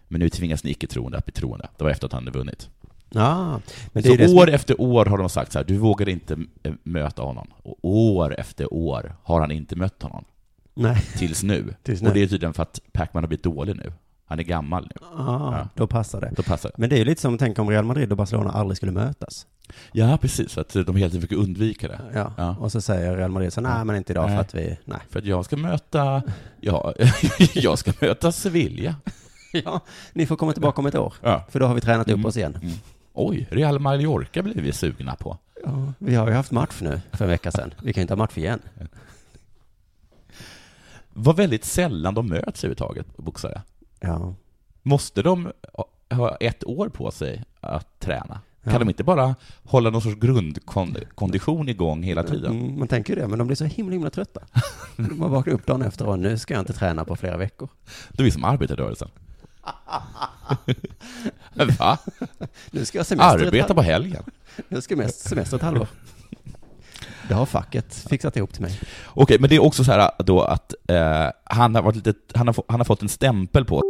Speaker 4: Men nu tvingas ni icke-troende att bli troende. Det var efter att han hade vunnit.
Speaker 3: Ja, men det är
Speaker 4: Så
Speaker 3: ju det som-
Speaker 4: år efter år har de sagt så här, du vågar inte eh, möta honom. Och år efter år har han inte mött honom.
Speaker 3: Nej,
Speaker 4: Tills nu.
Speaker 3: Tills
Speaker 4: Och
Speaker 3: nu.
Speaker 4: det är tydligen för att Pacman har blivit dålig nu. Han är gammal nu.
Speaker 3: ah,
Speaker 4: Ja.
Speaker 3: då passar det.
Speaker 4: Då passar det.
Speaker 3: Men det är ju lite som, tänk om Real Madrid och Barcelona aldrig skulle mötas.
Speaker 4: Ja, precis. Att de hela tiden fick undvika det.
Speaker 3: Ja.
Speaker 4: Ja.
Speaker 3: Och så säger Real Madrid så nej men inte idag
Speaker 4: Nej.
Speaker 3: för att vi, nej.
Speaker 4: För att jag ska möta... Ja, jag ska möta Sevilla.
Speaker 3: Ja, ni får komma tillbaka om ett år.
Speaker 4: Ja.
Speaker 3: För då har vi tränat
Speaker 4: Mm.
Speaker 3: upp oss igen.
Speaker 4: Oj, Real Mallorca blir vi sugna på.
Speaker 3: Ja, vi har ju haft match nu för en vecka sedan. Vi kan ju inte ha match igen.
Speaker 4: Vad väldigt sällan de möts överhuvudtaget, boxare.
Speaker 3: Ja.
Speaker 4: Måste de ha ett år på sig att träna? Kan
Speaker 3: Ja.
Speaker 4: de inte bara hålla någon sorts grundkondition igång hela tiden?
Speaker 3: Mm, man tänker ju det, men de blir så himla, himla trötta. Man vaknar upp dagen efter och nu ska jag inte träna på flera veckor.
Speaker 4: Det är vi som arbetarrörelsen. Va?
Speaker 3: Nu ska jag semester ett
Speaker 4: Arbeta
Speaker 3: halv-
Speaker 4: på helgen?
Speaker 3: Nu ska jag mest semester ett halvår. Det har facket fixat ihop till mig.
Speaker 4: Okej, men det är också så här då att eh, han, har varit lite, han, har, få- han har fått en stämpel på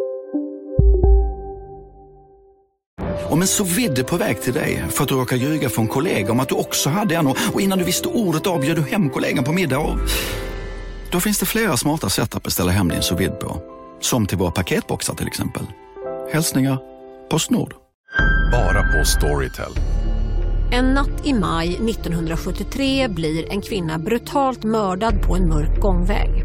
Speaker 6: Om en så vidde på väg till dig för att du råkar ljuga från kollega om att du också hade en och och innan du visste ordet av bjöd du hem kollegan på middag och... Då finns det flera smarta sätt att beställa hem din sous vide på. Som till våra paketboxar till exempel. Hälsningar Postnord.
Speaker 7: Bara på Storytel.
Speaker 8: En natt i maj 1973 blir en kvinna brutalt mördad på en mörk gångväg.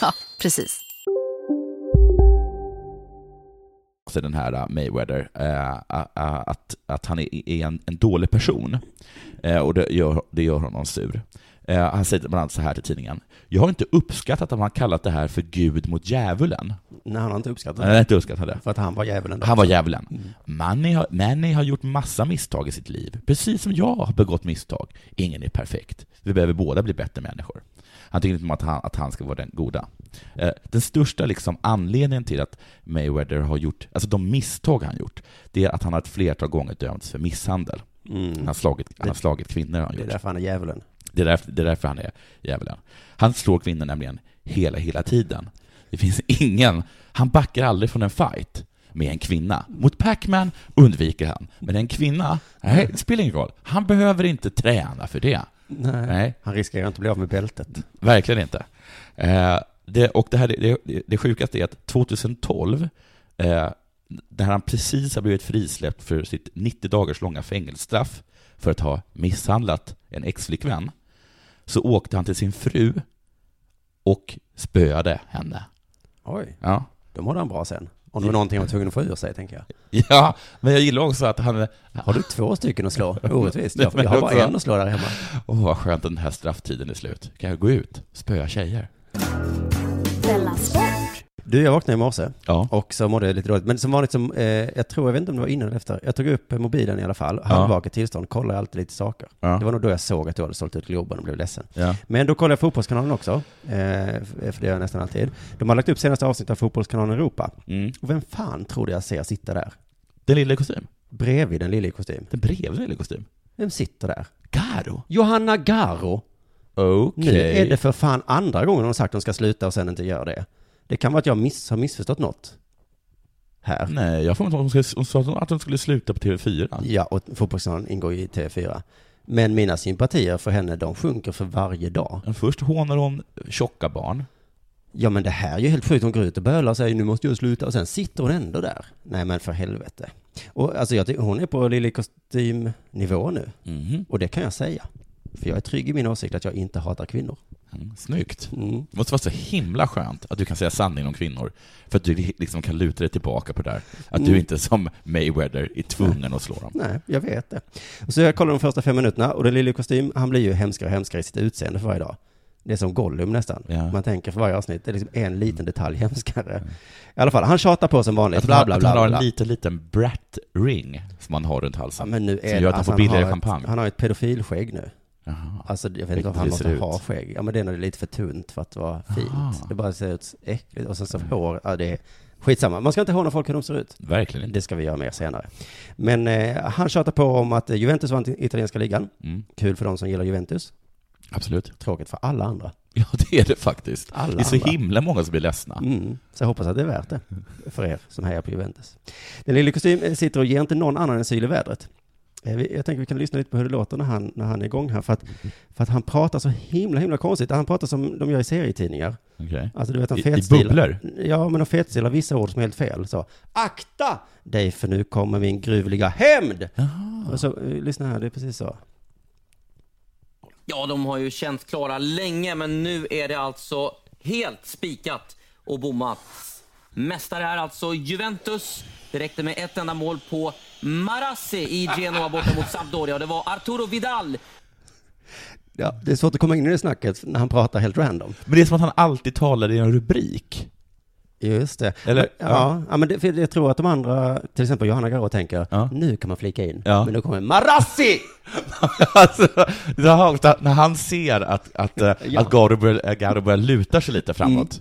Speaker 8: Ja, precis.
Speaker 4: sig, den här eh, Mayweather, eh, a- a- att, att han är, är en, en dålig person. Eh, och det gör, det gör honom sur. Eh, han säger bland annat så här till tidningen. Jag har inte uppskattat att man kallat det här för Gud mot djävulen.
Speaker 3: Nej, han har inte uppskattat
Speaker 4: Nej,
Speaker 3: det.
Speaker 4: inte uppskattat det.
Speaker 3: För att han var djävulen. Mm. då.
Speaker 4: Han var djävulen. Manny har, Manny har gjort massa misstag i sitt liv, precis som jag har begått misstag. Ingen är perfekt. Vi behöver båda bli bättre människor. Han tycker inte om att han, att han ska vara den goda. Eh, den största liksom anledningen till att Mayweather har gjort, alltså de misstag han gjort, det är att han har ett flertal gånger dömts för misshandel. Han har slagit, han har slagit kvinnor. har Han
Speaker 3: Mm. Det är
Speaker 4: gjort.
Speaker 3: därför han är djävulen.
Speaker 4: Det är, därför, det är därför han är djävulen. Han slår kvinnor nämligen hela, hela tiden. Det finns ingen, han backar aldrig från en fight med en kvinna. Mot Pac-Man undviker han, men en kvinna, nej, det spelar ingen roll. Han behöver inte träna för det.
Speaker 3: Nej. Han riskerar inte att bli av med bältet.
Speaker 4: Verkligen inte. Eh, det, och det, här, det, det, det sjukaste är att 2012, eh, när han precis har blivit frisläppt för sitt 90 dagars långa fängelsestraff för att ha misshandlat en exflickvän, så åkte han till sin fru och spöade henne.
Speaker 3: Oj.
Speaker 4: Ja.
Speaker 3: Då mådde han bra sen. Om det var någonting han var tvungen att få ur sig, tänker jag.
Speaker 4: Ja, men jag gillar också att han... Har
Speaker 3: du två stycken att slå? Orättvist. Jag- jag har bara en att slå där hemma.
Speaker 4: Åh, vad skönt att den här strafftiden är slut. Kan jag gå ut? Spöa tjejer?
Speaker 2: Della Sport.
Speaker 3: Du, jag vaknade i morse
Speaker 4: ja.
Speaker 3: och så mådde jag lite dåligt. Men som vanligt, som, eh, jag tror, jag vet inte om det var innan eller efter, jag tog upp mobilen i alla fall, halvvaket tillstånd, kollar alltid lite saker.
Speaker 4: Ja.
Speaker 3: Det var nog då jag såg att du hade sålt ut Globen och blev ledsen.
Speaker 4: Ja.
Speaker 3: Men då kollade jag Fotbollskanalen också, eh, för det gör jag nästan alltid. De har lagt upp senaste avsnittet av Fotbollskanalen Europa.
Speaker 4: Mm.
Speaker 3: Och vem fan trodde jag ser sitta där?
Speaker 4: Den lilla i kostym?
Speaker 3: Bredvid den lilla i kostym.
Speaker 4: Den bredvid den lilla i kostym?
Speaker 3: Vem sitter där?
Speaker 4: Garo?
Speaker 3: Johanna Garo.
Speaker 4: Okej.
Speaker 3: Nu är det för fan andra gången hon har sagt att hon ska sluta och sen inte gör det. Det kan vara att jag miss, har missförstått något. Här.
Speaker 4: Nej, jag får inte ihåg att hon skulle- hon sa att hon skulle sluta på TV4.
Speaker 3: Ja, och Fotbollskanalen ingår ju i TV4. Men mina sympatier för henne, de sjunker för varje dag.
Speaker 4: Men först hånar hon tjocka barn.
Speaker 3: Ja, men det här är ju helt sjukt. Hon går ut och bölar och säger nu måste jag sluta och sen sitter hon ändå där. Nej, men för helvete. Och alltså, jag, tycker hon är på lille kostymnivå nu.
Speaker 4: Mhm.
Speaker 3: Och det kan jag säga. För jag är trygg i min åsikt att jag inte hatar kvinnor.
Speaker 4: Mm, snyggt.
Speaker 3: Mm.
Speaker 4: Det måste vara så himla skönt att du kan säga sanningen om kvinnor. För att du liksom kan luta dig tillbaka på det där. Att du
Speaker 3: Mm.
Speaker 4: inte som Mayweather är tvungen att slå dem.
Speaker 3: Nej, jag vet det. Och så jag kollar de första fem minuterna och den lille kostym, han blir ju hemskare och hemskare i sitt utseende för varje dag. Det är som Gollum nästan.
Speaker 4: Ja. Mm.
Speaker 3: Man tänker för varje avsnitt, det är liksom en liten detalj hemskare. I alla fall, han tjatar på som vanligt.
Speaker 4: Att
Speaker 3: Bla,
Speaker 4: han,
Speaker 3: bla,
Speaker 4: att
Speaker 3: bla,
Speaker 4: han har
Speaker 3: bla.
Speaker 4: en liten, liten brat ring som han har runt halsen.
Speaker 3: Ja, men nu är
Speaker 4: som gör att han
Speaker 3: alltså,
Speaker 4: får billigare
Speaker 3: har
Speaker 4: champagne.
Speaker 3: Ett, han har ett pedofilskägg nu.
Speaker 4: Jaha.
Speaker 3: Alltså jag vet
Speaker 4: Vilket
Speaker 3: inte varför han
Speaker 4: det
Speaker 3: måste
Speaker 4: ser ut.
Speaker 3: ha skägg. Ja men det är när det är lite för tunt för att vara fint.
Speaker 4: Aha.
Speaker 3: Det bara ser ut äckligt. Och sen så hår, ja det är skitsamma. Man ska inte håna folk hur de ser ut.
Speaker 4: Verkligen inte.
Speaker 3: Det ska vi göra mer senare. Men eh, han tjatar på om att Juventus vann italienska ligan.
Speaker 4: Mm.
Speaker 3: Kul för de som gillar Juventus.
Speaker 4: Absolut.
Speaker 3: Tråkigt för alla andra.
Speaker 4: Ja, det är det faktiskt.
Speaker 3: Alla
Speaker 4: det är så
Speaker 3: andra.
Speaker 4: himla många som blir ledsna.
Speaker 3: Mm. Så jag hoppas att det är värt det för er som hejar på Juventus. Den lille kostym eh, sitter och ger inte någon annan än syl i vädret. Eh, vi- Jag tänker vi kan lyssna lite på hur det låter när han, när han är igång här. För att, för att han pratar så himla, himla konstigt. Han pratar som de gör i serietidningar.
Speaker 4: Okej.
Speaker 3: Alltså du vet, de
Speaker 4: I, I
Speaker 3: fetstilar.
Speaker 4: bubblor?
Speaker 3: Ja, men de fetstilar vissa ord som är helt fel. Så, akta dig för nu kommer min gruvliga hämnd! Och så, eh, lyssna här, det är precis så.
Speaker 9: Ja, de har ju känt klara länge, men nu är det alltså helt spikat och bommat. Mästare är alltså Juventus. Det räckte med ett enda mål på Marassi i Genoa borta mot Sampdoria. Och Det var Arturo Vidal.
Speaker 3: Ja, det är svårt att komma in i det snacket när han pratar helt random.
Speaker 4: Men det är som att han alltid talar i en rubrik.
Speaker 3: Just det.
Speaker 4: Eller?
Speaker 3: Ja, ja. men det, för jag tror att de andra, till exempel Johanna Garå tänker, nu kan man flika in.
Speaker 4: Ja.
Speaker 3: Men då kommer Marassi!
Speaker 4: alltså, det har också, när han ser att, att, eh,
Speaker 3: Ja. Mm.
Speaker 4: att Garo börjar, Garo börjar luta sig lite framåt.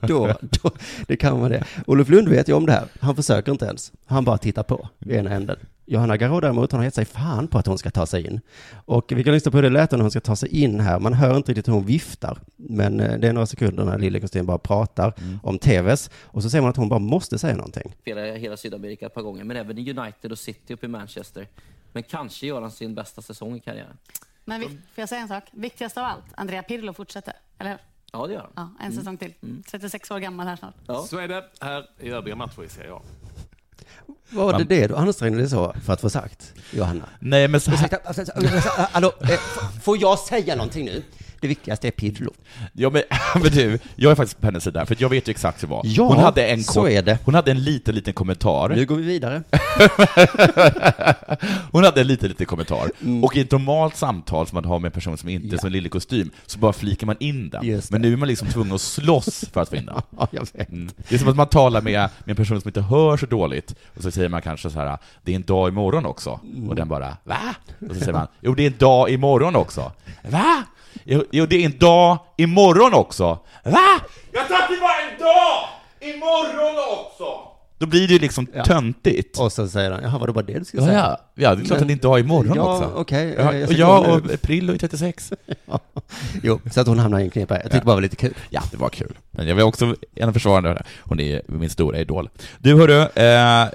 Speaker 3: Då, då, det kan vara det. Olof Lund vet ju om det här. Han försöker inte ens. Han bara tittar på i ena änden. Johanna Garå däremot, hon har gett sig fan på att hon ska ta sig in. Och vi kan lyssna på hur det lät när hon ska ta sig in här. Man hör inte riktigt hur hon viftar. Men eh, det är några sekunder när Lille Kristin bara pratar om TVs. Och så ser man att hon bara måste säga någonting.
Speaker 9: Spelar i hela Sydamerika ett par gånger, men även i United och City uppe i Manchester. Men kanske gör han sin bästa säsong i karriären.
Speaker 10: Men vi, får jag säga en sak? Viktigast av allt, Andrea Pirlo fortsätter, eller hur?
Speaker 9: Ja, det gör han. Mm.
Speaker 10: Ja, en säsong till. 36 år gammal här snart.
Speaker 11: Så är det här i övriga matcher i Serie A.
Speaker 3: Var det det du ansträngde dig så för att få sagt, Johanna?
Speaker 4: Nej, men så här,
Speaker 3: Ursäkta, alltså, alltså, hallå, eh, f- får jag säga någonting nu? Det viktigaste är Pirlo.
Speaker 4: ja, men, men du, jag är faktiskt på hennes sida, för jag vet ju exakt hur det var.
Speaker 3: Ja,
Speaker 4: hon hade en
Speaker 3: så
Speaker 4: kort-
Speaker 3: är det.
Speaker 4: Hon hade en liten, liten kommentar.
Speaker 3: Nu går vi vidare.
Speaker 4: Hon hade en liten, liten kommentar.
Speaker 3: Mm.
Speaker 4: Och i ett normalt samtal som man har med en person som inte är som en lille kostym, så bara flikar man in den.
Speaker 3: Just
Speaker 4: Men nu är man liksom tvungen att slåss för att få in den.
Speaker 3: Ja, jag vet.
Speaker 4: Mm. Det är som att man talar med, med en person som inte hör så dåligt, och så säger man kanske så här, det är en dag imorgon också,
Speaker 3: Mm.
Speaker 4: och den bara, va? Och så säger man, jo det är en dag imorgon också. Va? Jo, jo det är en dag imorgon också. Va? Jag sa att det var en dag! Imorgon också! Då blir det ju liksom töntigt.
Speaker 3: Och så säger han, jaha, var det bara det du skulle
Speaker 4: Ja,
Speaker 3: säga?
Speaker 4: ja. ja, det är klart att det inte är imorgon
Speaker 3: ja,
Speaker 4: också.
Speaker 3: okej.
Speaker 4: Ja,
Speaker 3: Eh, jag
Speaker 4: och
Speaker 3: ska
Speaker 4: jag
Speaker 3: kolla
Speaker 4: och Prillo är 36.
Speaker 3: Jo, så att hon hamnar i en knipa. Jag tyckte bara det var lite kul.
Speaker 4: Ja, det var kul. Men jag vill också gärna försvara henne. Hon är min stora idol. Du hörru, eh, eh,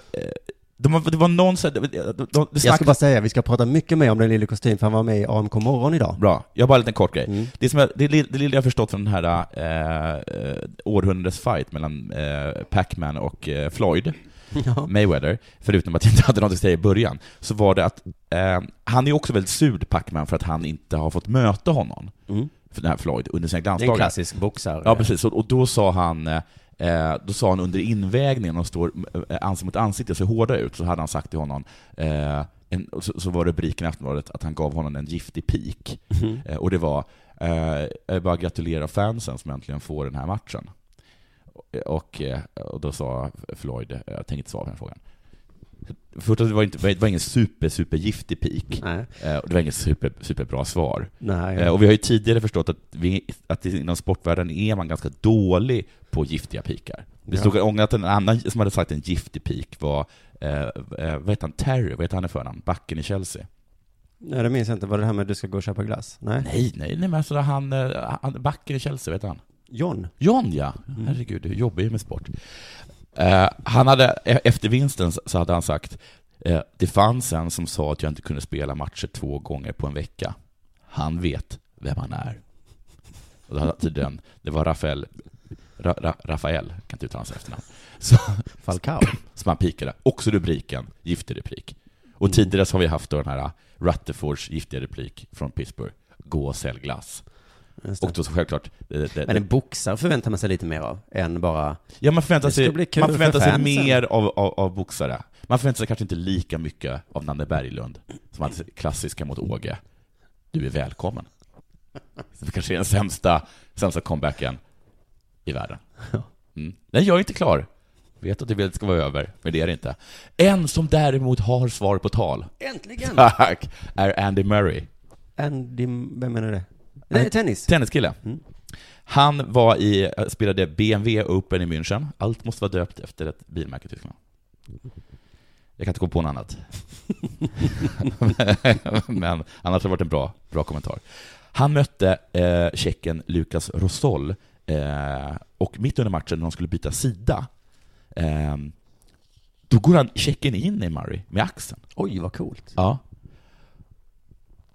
Speaker 4: De, har- det var någon så här- de, de, de, det
Speaker 3: Jag ska
Speaker 4: snackas-
Speaker 3: bara säga, vi ska prata mycket mer om den lille kostym, för han var med i AMK morgon idag.
Speaker 4: Bra. Jag har bara en liten kort grej.
Speaker 3: Mm.
Speaker 4: Det, som jag, det, li- det lilla jag har förstått från den här eh, eh, århundradets fight mellan eh, Pac-Man och eh, Floyd,
Speaker 3: Ja.
Speaker 4: Mayweather, förutom att jag inte hade något att säga i början, så var det att eh, han är också väldigt sur, Pac-Man, för att han inte har fått möta honom,
Speaker 3: Mm.
Speaker 4: för den här Floyd, under sina
Speaker 12: en
Speaker 4: glansdagar.
Speaker 12: klassisk boxare.
Speaker 4: Ja, precis. Och, och då sa han eh, Eh, då sa han under invägningen, de står eh, ansikte mot ansikte och ser hårda ut, så hade han sagt till honom, eh, en, och så, så var rubriken i Aftonbladet att han gav honom en giftig pik.
Speaker 12: Mhm.
Speaker 4: Eh, och det var, eh, jag vill bara gratulera fansen som äntligen får den här matchen. Och, eh, och då sa Floyd, eh, jag tänker inte svara på den frågan. Först att det var, inte, det var ingen super, super giftig pik. Eh, och det var inget super, superbra svar.
Speaker 3: Nej.
Speaker 4: Eh, och vi har ju tidigare förstått att, vi, att inom sportvärlden är man ganska dålig på giftiga pikar. Det
Speaker 12: Ja.
Speaker 4: stod jag ångrar att en annan som hade sagt en giftig pik var, eh, eh, vad heter han, Terry, vad heter han i förnamn, backen i Chelsea?
Speaker 3: Nej, det minns jag inte. Var det det här med att du ska gå och köpa glass? Nej.
Speaker 4: Nej, nej, nej men alltså han, eh, han backen i Chelsea, vet han?
Speaker 3: John.
Speaker 4: John ja,
Speaker 3: Mm.
Speaker 4: herregud, jag jobbar ju med sport. Eh, han hade, e- efter vinsten så hade han sagt, eh, det fanns en som sa att jag inte kunde spela matcher två gånger på en vecka. Han vet vem han är. Och då hade han tydligen, det var Rafael, Ra, Ra, Rafael, jag kan inte uttala hans efternamn. Så,
Speaker 3: Falcao.
Speaker 4: Som han pikade. Också rubriken, giftig replik. Och tidigare så har vi haft då den här Rutherfords giftiga replik från Pittsburgh, gå och sälj glass.
Speaker 3: Just det.
Speaker 4: Och då så självklart... eh, Det, det,
Speaker 3: Men en boxare förväntar man sig lite mer av, än bara...
Speaker 4: Ja, man förväntar
Speaker 3: "Det ska
Speaker 4: sig,
Speaker 3: bli kul
Speaker 4: man förväntar
Speaker 3: för
Speaker 4: sig
Speaker 3: fansen."
Speaker 4: mer av, av, av boxare. Man förväntar sig kanske inte lika mycket av Nanne Berglund, som hans klassiska mot Åge. Du är välkommen. Det kanske är den sämsta, sämsta comebacken i världen. Mm. Nej, jag är inte klar. Vet att du vill att det ska vara över, men det är det inte. En som däremot har svar på tal.
Speaker 3: Äntligen!
Speaker 4: Tack! Är Andy Murray.
Speaker 3: Andy, vem menar du det? Nej, tennis.
Speaker 4: Tenniskille. Han var i, eh, spelade BMW Open i München. Allt måste vara döpt efter ett bilmärke i Tyskland. Jag kan inte gå på något annat. Men annars har det varit en bra, bra kommentar. Han mötte eh, tjecken Lukas Rosol eh, och mitt under matchen när de skulle byta sida eh, då går han tjecken in i Murray med axeln.
Speaker 3: Oj, vad coolt.
Speaker 4: Ja.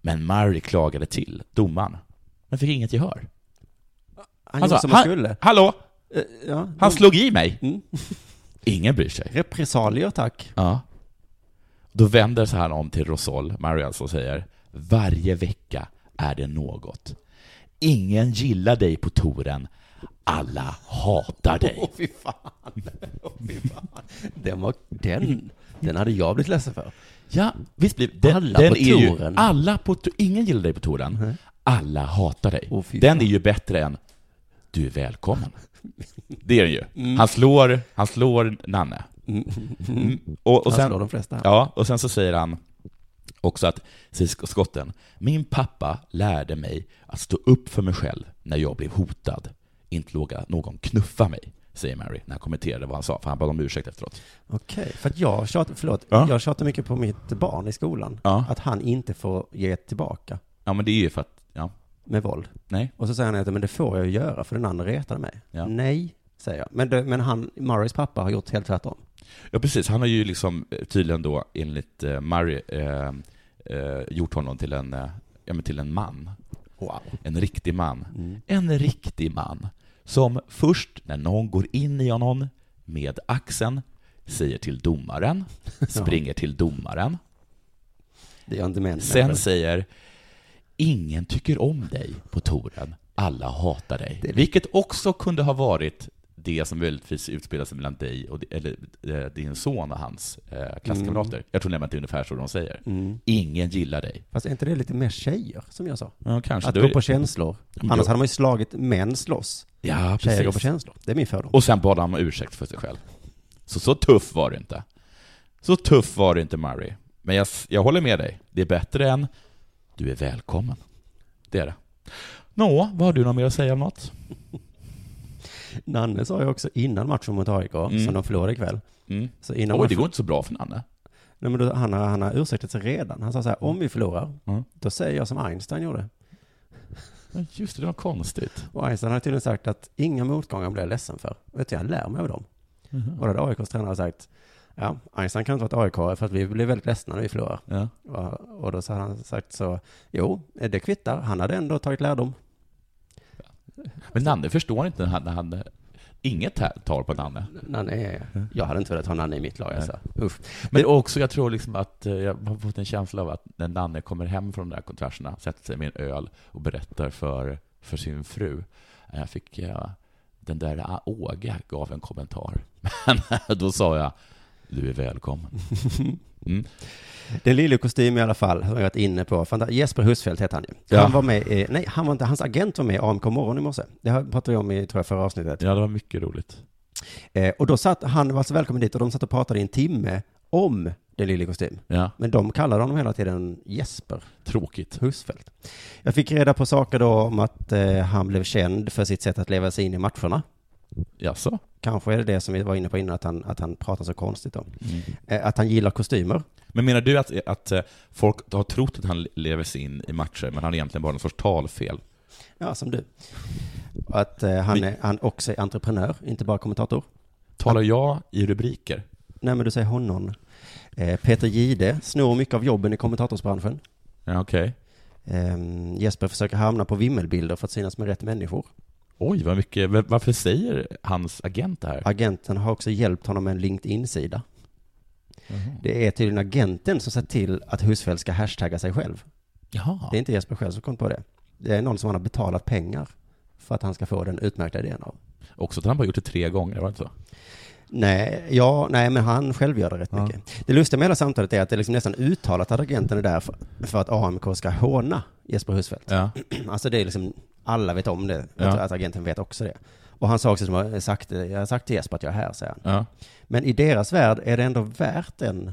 Speaker 4: Men Murray klagade till domaren, men fick inget gehör.
Speaker 3: Han gjorde som Alltså, han skulle.
Speaker 4: Alltså,
Speaker 3: Eh,
Speaker 4: Hallå!
Speaker 3: ja. Mm.
Speaker 4: han slog i mig! Ingen bryr sig.
Speaker 3: Repressalier, tack.
Speaker 4: Ja. Då vänder sig han om till Rosol, Murray alltså, och säger Varje vecka är det något. Ingen gillar dig på touren. Alla hatar dig.
Speaker 3: Åh, fy fan. Åh, fy fan. Den var... Den, den hade jag blivit ledsen för.
Speaker 4: Ja, visst blir den,
Speaker 3: Alla
Speaker 4: den
Speaker 3: på
Speaker 4: är ju,
Speaker 3: touren.
Speaker 4: Alla på t- Ingen gillar dig på touren. Alla hatar dig. den är ju bättre än Du är välkommen. Det är den ju.
Speaker 3: Mm.
Speaker 4: Han, slår, han slår Nanne. Mm. Och, och
Speaker 3: Han
Speaker 4: sen,
Speaker 3: slår Alltså, de flesta.
Speaker 4: Ja, och sen så säger han också att, säger sk- skotten, min pappa lärde mig att stå upp för mig själv när jag blev hotad. Inte låga någon knuffa mig, säger Mary när han kommenterade vad han sa, för han bad om ursäkt efteråt.
Speaker 3: Okej, för att jag tjatar, förlåt,
Speaker 4: Ja.
Speaker 3: jag tjatar mycket på mitt barn i skolan.
Speaker 4: Ja.
Speaker 3: Att han inte får ge tillbaka
Speaker 4: Ja, men det är ju för att, ja.
Speaker 3: med våld.
Speaker 4: Nej.
Speaker 3: Och så säger han att men det får jag ju göra för den andra retade mig.
Speaker 4: Ja.
Speaker 3: Nej, säger jag. Men, det, men han, Murrays pappa har gjort helt tvärtom.
Speaker 4: Ja precis, han har ju liksom eh, tydligen då enligt eh, Murray eh, eh, gjort honom till en, eh, ja, men till en man. En riktig man. En riktig man. Som först när någon går in i honom med axeln säger till domaren, springer till domaren.
Speaker 3: Det är inte män.
Speaker 4: Sen säger ingen tycker om dig på touren, alla hatar dig. Vilket också kunde ha varit det som möjligtvis utspelar sig mellan dig och eller, eh, din son och hans eh, klasskamrater.
Speaker 3: Mm.
Speaker 4: Jag tror nämligen att det är ungefär så de säger.
Speaker 3: Mm.
Speaker 4: Ingen gillar dig.
Speaker 3: Fast är inte det lite mer tjejer, som jag sa?
Speaker 4: Ja,
Speaker 3: Att
Speaker 4: kanske. Alltså, Då är
Speaker 3: gå
Speaker 4: det-
Speaker 3: på känslor.
Speaker 4: Ja, men
Speaker 3: Annars
Speaker 4: då-
Speaker 3: hade man ju slagit män slåss.
Speaker 4: Ja,
Speaker 3: Tjejer
Speaker 4: precis.
Speaker 3: går på känslor. Det är min fördom.
Speaker 4: Och sen bad han om ursäkt för sig själv. Så så tuff var det inte. Så tuff var det inte, Murray. Men jag, jag håller med dig. Det är bättre än du är välkommen. Det är det. Nå, vad har du något mer att säga om något?
Speaker 3: Nanne sa ju också innan matchen mot AIK, som de förlorade ikväll.
Speaker 4: Mm.
Speaker 3: Så innan
Speaker 4: Oj,
Speaker 3: matchen-
Speaker 4: det går inte så bra för Nanne.
Speaker 3: Nej, men då, han, har, han har ursäktat sig redan. Han sa så här, om vi förlorar,
Speaker 4: Mm.
Speaker 3: då säger jag som Einstein gjorde.
Speaker 4: Men Just det, det var konstigt.
Speaker 3: Och Einstein hade tydligen sagt att inga motgångar blir jag ledsen för. Vet du, jag lär mig av dem. Och då hade AIKs tränare sagt, Ja, Einstein kan inte vara ett AIK för att vi blev väldigt ledsna när vi förlorade.
Speaker 4: Ja.
Speaker 3: Och, och då så har han sagt så, jo, det kvittar, han hade ändå tagit lärdom.
Speaker 4: Men Nanne förstår inte när han, när han inget här tal på Nanne.
Speaker 3: Nanne är, jag hade inte velat ha Nanne i mitt lag alltså. Uff.
Speaker 4: Men också, jag tror liksom att eh, jag har fått en känsla av att när Nanne kommer hem från de där kontrasterna, sätter sig med en öl och berättar för, för sin fru. eh, Jag fick, eh, den där ah, Åge gav en kommentar. Men eh, då sa jag, du är välkommen. Mm.
Speaker 3: Det är en lillekostym i alla fall, som jag varit inne på. Fanta- Jesper Husfeldt heter han ju.
Speaker 4: Ja.
Speaker 3: Han var med i, nej, han var inte, hans agent var med i AMK morgon i morse. Det här pratade vi om i, tror jag, förra avsnittet.
Speaker 4: Ja, det var mycket roligt.
Speaker 3: Eh, och då satt, han var alltså välkommen dit och de satt och pratade i en timme om den lille kostym.
Speaker 4: Ja.
Speaker 3: Men de kallade honom hela tiden Jesper.
Speaker 4: Tråkigt.
Speaker 3: Husfeldt. Jag fick reda på saker då om att eh, han blev känd för sitt sätt att leva sig in i matcherna.
Speaker 4: Jaså?
Speaker 3: Kanske är det det som vi var inne på innan, att han, att han pratar så konstigt om. Eh, att han gillar kostymer.
Speaker 4: Men menar du att, att eh, folk har trott att han lever sig in i matcher, men han har egentligen bara någon sorts talfel?
Speaker 3: Ja, som du. Och att eh, han, är, han också är entreprenör, inte bara kommentator.
Speaker 4: Talar jag i rubriker?
Speaker 3: Nej, men du säger honom. Eh, Peter Gide snor mycket av jobben i kommentatorsbranschen.
Speaker 4: Ja, okej.
Speaker 3: Ehm, Jesper försöker hamna på vimmelbilder för att synas med rätt människor.
Speaker 4: Oj, vad mycket. v- Varför säger hans agent det här?
Speaker 3: Agenten har också hjälpt honom med en LinkedIn-sida. Det är tydligen agenten som sett till att Husfeldt ska hashtagga sig själv.
Speaker 4: Jaha.
Speaker 3: Det är inte Jesper själv som kom på det. Det är någon som han har betalat pengar för att han ska få den utmärkta idén av.
Speaker 4: Också att han bara gjort det tre gånger, var det inte så?
Speaker 3: Nej, ja, nej, men han själv gör det rätt mycket. Det lustiga med hela samtalet är att det är liksom nästan uttalat att agenten är där för, för att AMK ska håna Jesper Husfeldt.
Speaker 4: Ja.
Speaker 3: Alltså det är liksom, alla vet om det,
Speaker 4: Ja.
Speaker 3: att, att agenten vet också det. Och han sa också som jag har sagt, jag har sagt till Jesper att jag är här, säger han.
Speaker 4: Ja.
Speaker 3: Men i deras värld är det ändå värt den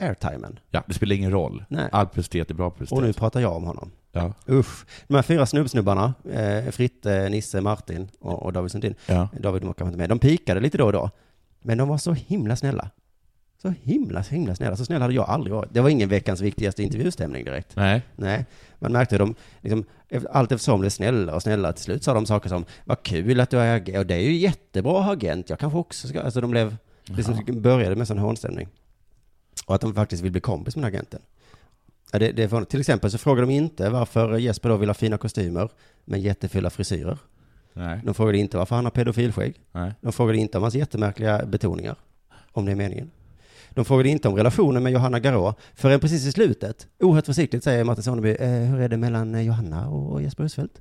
Speaker 3: airtimen.
Speaker 4: Ja, det spelar ingen roll.
Speaker 3: Nej.
Speaker 4: All prestet är bra prestet.
Speaker 3: Och nu pratar jag om honom.
Speaker 4: Ja.
Speaker 3: Usch. De här fyra snubbsnubbarna, eh, Fritte, Nisse, Martin och, och David Sundin.
Speaker 4: Ja.
Speaker 3: David var kanske inte med. De pikade lite då och då. Men de var så himla snälla. Så himla, så himla snälla. Så snäll hade jag aldrig varit. Det var ingen veckans viktigaste intervjustämning direkt.
Speaker 4: Nej.
Speaker 3: Nej. Man märkte hur de, liksom, efter- allt eftersom blev snällare och snällare. Till slut sa de saker som, vad kul att du är agent. Och det är ju jättebra att ha agent. Jag kanske också ska... Alltså de blev, liksom, började med sån hånstämning. Och att de faktiskt vill bli kompis med den här agenten. Ja, det, det är förvånande. Till exempel så frågar de inte varför Jesper då vill ha fina kostymer, men jättefula frisyrer.
Speaker 4: Nej.
Speaker 3: De frågade inte varför han har pedofilskägg.
Speaker 4: Nej.
Speaker 3: De frågade inte om hans jättemärkliga betoningar, om det är meningen. De frågade inte om relationen med Johanna Garå förrän precis i slutet, oerhört försiktigt, säger Martin Sonneby, eh, hur är det mellan eh, Johanna och Jesper Husfeldt?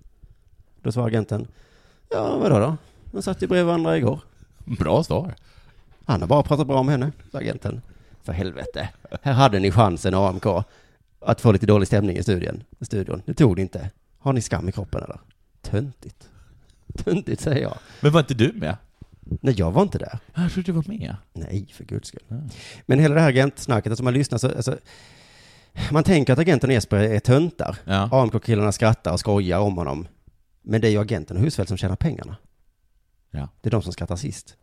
Speaker 3: Då svarar agenten, ja vadå då? De satt ju bredvid varandra igår.
Speaker 4: Bra svar.
Speaker 3: Han har bara pratat bra om henne, sa agenten. För helvete, här hade ni chansen AMK att få lite dålig stämning i studion. I studion. Det tog ni inte. Har ni skam i kroppen eller? Töntigt. Töntigt säger jag.
Speaker 4: Men var inte du med?
Speaker 3: Nej, jag var inte där.
Speaker 4: Jag trodde du var med.
Speaker 3: Nej, för guds skull. Men hela det här agentsnacket, alltså man lyssnar så, alltså, man tänker att agenten och Jesper är töntar.
Speaker 4: Ja.
Speaker 3: AMK-killarna skrattar och skojar om honom. Men det är ju agenten och Husfeldt som tjänar pengarna.
Speaker 4: Ja.
Speaker 3: Det är de som skrattar sist.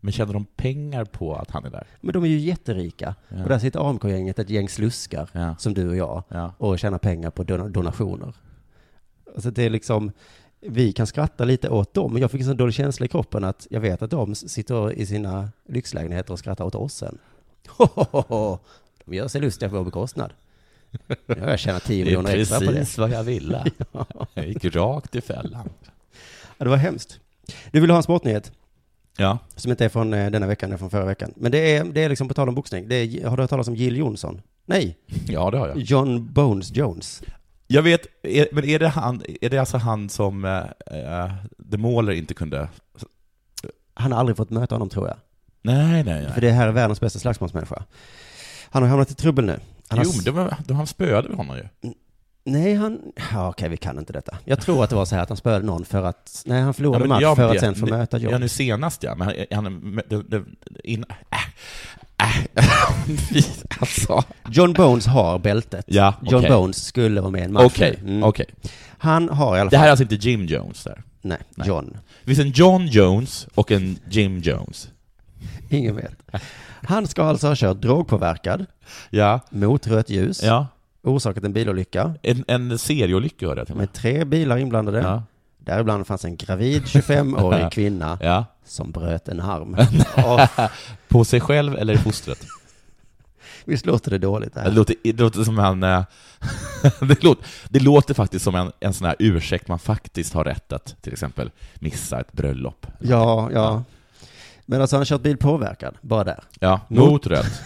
Speaker 4: Men tjänar de pengar på att han är där?
Speaker 3: Men de är ju jätterika.
Speaker 4: Ja.
Speaker 3: Och där sitter AMK-gänget, ett gäng sluskar,
Speaker 4: Ja.
Speaker 3: som du och jag,
Speaker 4: Ja.
Speaker 3: och tjänar pengar på don- donationer. Alltså det är liksom, vi kan skratta lite åt dem, men jag fick en sån dålig känsla i kroppen att jag vet att de s- sitter i sina lyxlägenheter och skrattar åt oss sen. Hohoho! De gör sig lustiga på vår bekostnad. Nu har jag tjänat 10
Speaker 4: Det är
Speaker 3: miljoner extra på det.
Speaker 4: precis vad jag ville. Jag gick rakt i fällan.
Speaker 3: Ja, det var hemskt. Du vill ha en sportnyhet?
Speaker 4: Ja.
Speaker 3: Som inte är från eh, denna veckan, det är från förra veckan. Men det är, det är liksom på tal om boxning. Det är, har du hört talas om Jill Johnson? Nej,
Speaker 4: Ja, det har jag.
Speaker 3: John Bones Jones.
Speaker 4: Jag vet, är, men är det, han, är det alltså han som eh, eh, The Mauler inte kunde...
Speaker 3: Han har aldrig fått möta honom tror jag.
Speaker 4: Nej, nej, nej.
Speaker 3: För det här är världens bästa slagsmålsmänniska. Han har hamnat i trubbel nu. Han har
Speaker 4: jo,
Speaker 3: s-
Speaker 4: men de, var- de, han spöade väl honom ju?
Speaker 3: Nej, han... Ja, okej, vi kan inte detta. Jag tror att det var så här att han spöade någon för att... Nej, han förlorade
Speaker 4: men
Speaker 3: match
Speaker 4: ja,
Speaker 3: för
Speaker 4: det-
Speaker 3: att sen få
Speaker 4: nu-
Speaker 3: möta John.
Speaker 4: Ja, nu senast ja. Men han... han det, det, in, äh, äh, fy, alltså.
Speaker 3: John Bones har bältet.
Speaker 4: Ja, okej.
Speaker 3: John Bones skulle vara med i en match.
Speaker 4: Okej,
Speaker 3: nu. Mm.
Speaker 4: okej.
Speaker 3: Han har i alla
Speaker 4: Det
Speaker 3: fall...
Speaker 4: här är alltså inte Jim Jones där?
Speaker 3: Nej, John.
Speaker 4: Det finns en John Jones och en Jim Jones.
Speaker 3: Ingen vet. Han ska alltså ha kört drogpåverkad
Speaker 4: Ja.
Speaker 3: mot rött ljus.
Speaker 4: Ja.
Speaker 3: Orsakat en bilolycka
Speaker 4: En, en serieolycka hörde jag till och med.
Speaker 3: med tre bilar inblandade.
Speaker 4: Ja.
Speaker 3: Däribland fanns en gravid 25-årig kvinna som bröt en arm. Åh,
Speaker 4: På sig själv eller i fostret?
Speaker 3: Visst låter det dåligt? Det här?
Speaker 4: Det låter, det låter som en... eh, det, låter, det låter faktiskt som en, en sån här ursäkt man faktiskt har rätt att till exempel missa ett bröllop.
Speaker 3: Ja, ja. Men alltså han har kört bil påverkad, bara där.
Speaker 4: Ja, mot rött.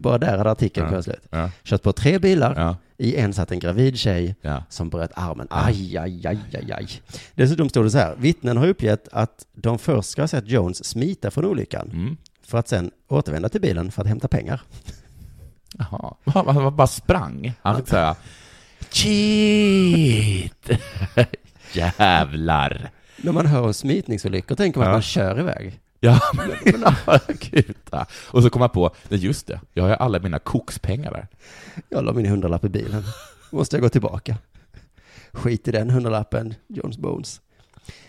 Speaker 3: bara där hade artikeln
Speaker 4: Mm. Ja,
Speaker 3: kunnat slut.
Speaker 4: ja.
Speaker 3: Kört på tre bilar, i en satt en gravid tjej som bröt armen.
Speaker 4: Ja.
Speaker 3: Aj, aj, aj, aj, aj. Dessutom stod det så här, vittnen har uppgett att de först ska ha sett Jones smita från olyckan
Speaker 4: Mm.
Speaker 3: för att sen återvända till bilen för att hämta pengar.
Speaker 4: Jaha. Han, han, han bara sprang. Han fick säga Shit! Jävlar!
Speaker 3: När man hör om smitningsolyckor tänker man
Speaker 4: Ja.
Speaker 3: att man kör iväg.
Speaker 4: Ja, men kuta. Och så kom jag på, nej just det, jag har ju alla mina kokspengar där.
Speaker 3: Jag la min hundralapp i bilen. Måste jag gå tillbaka? Skit i den hundralappen, Jones Bones.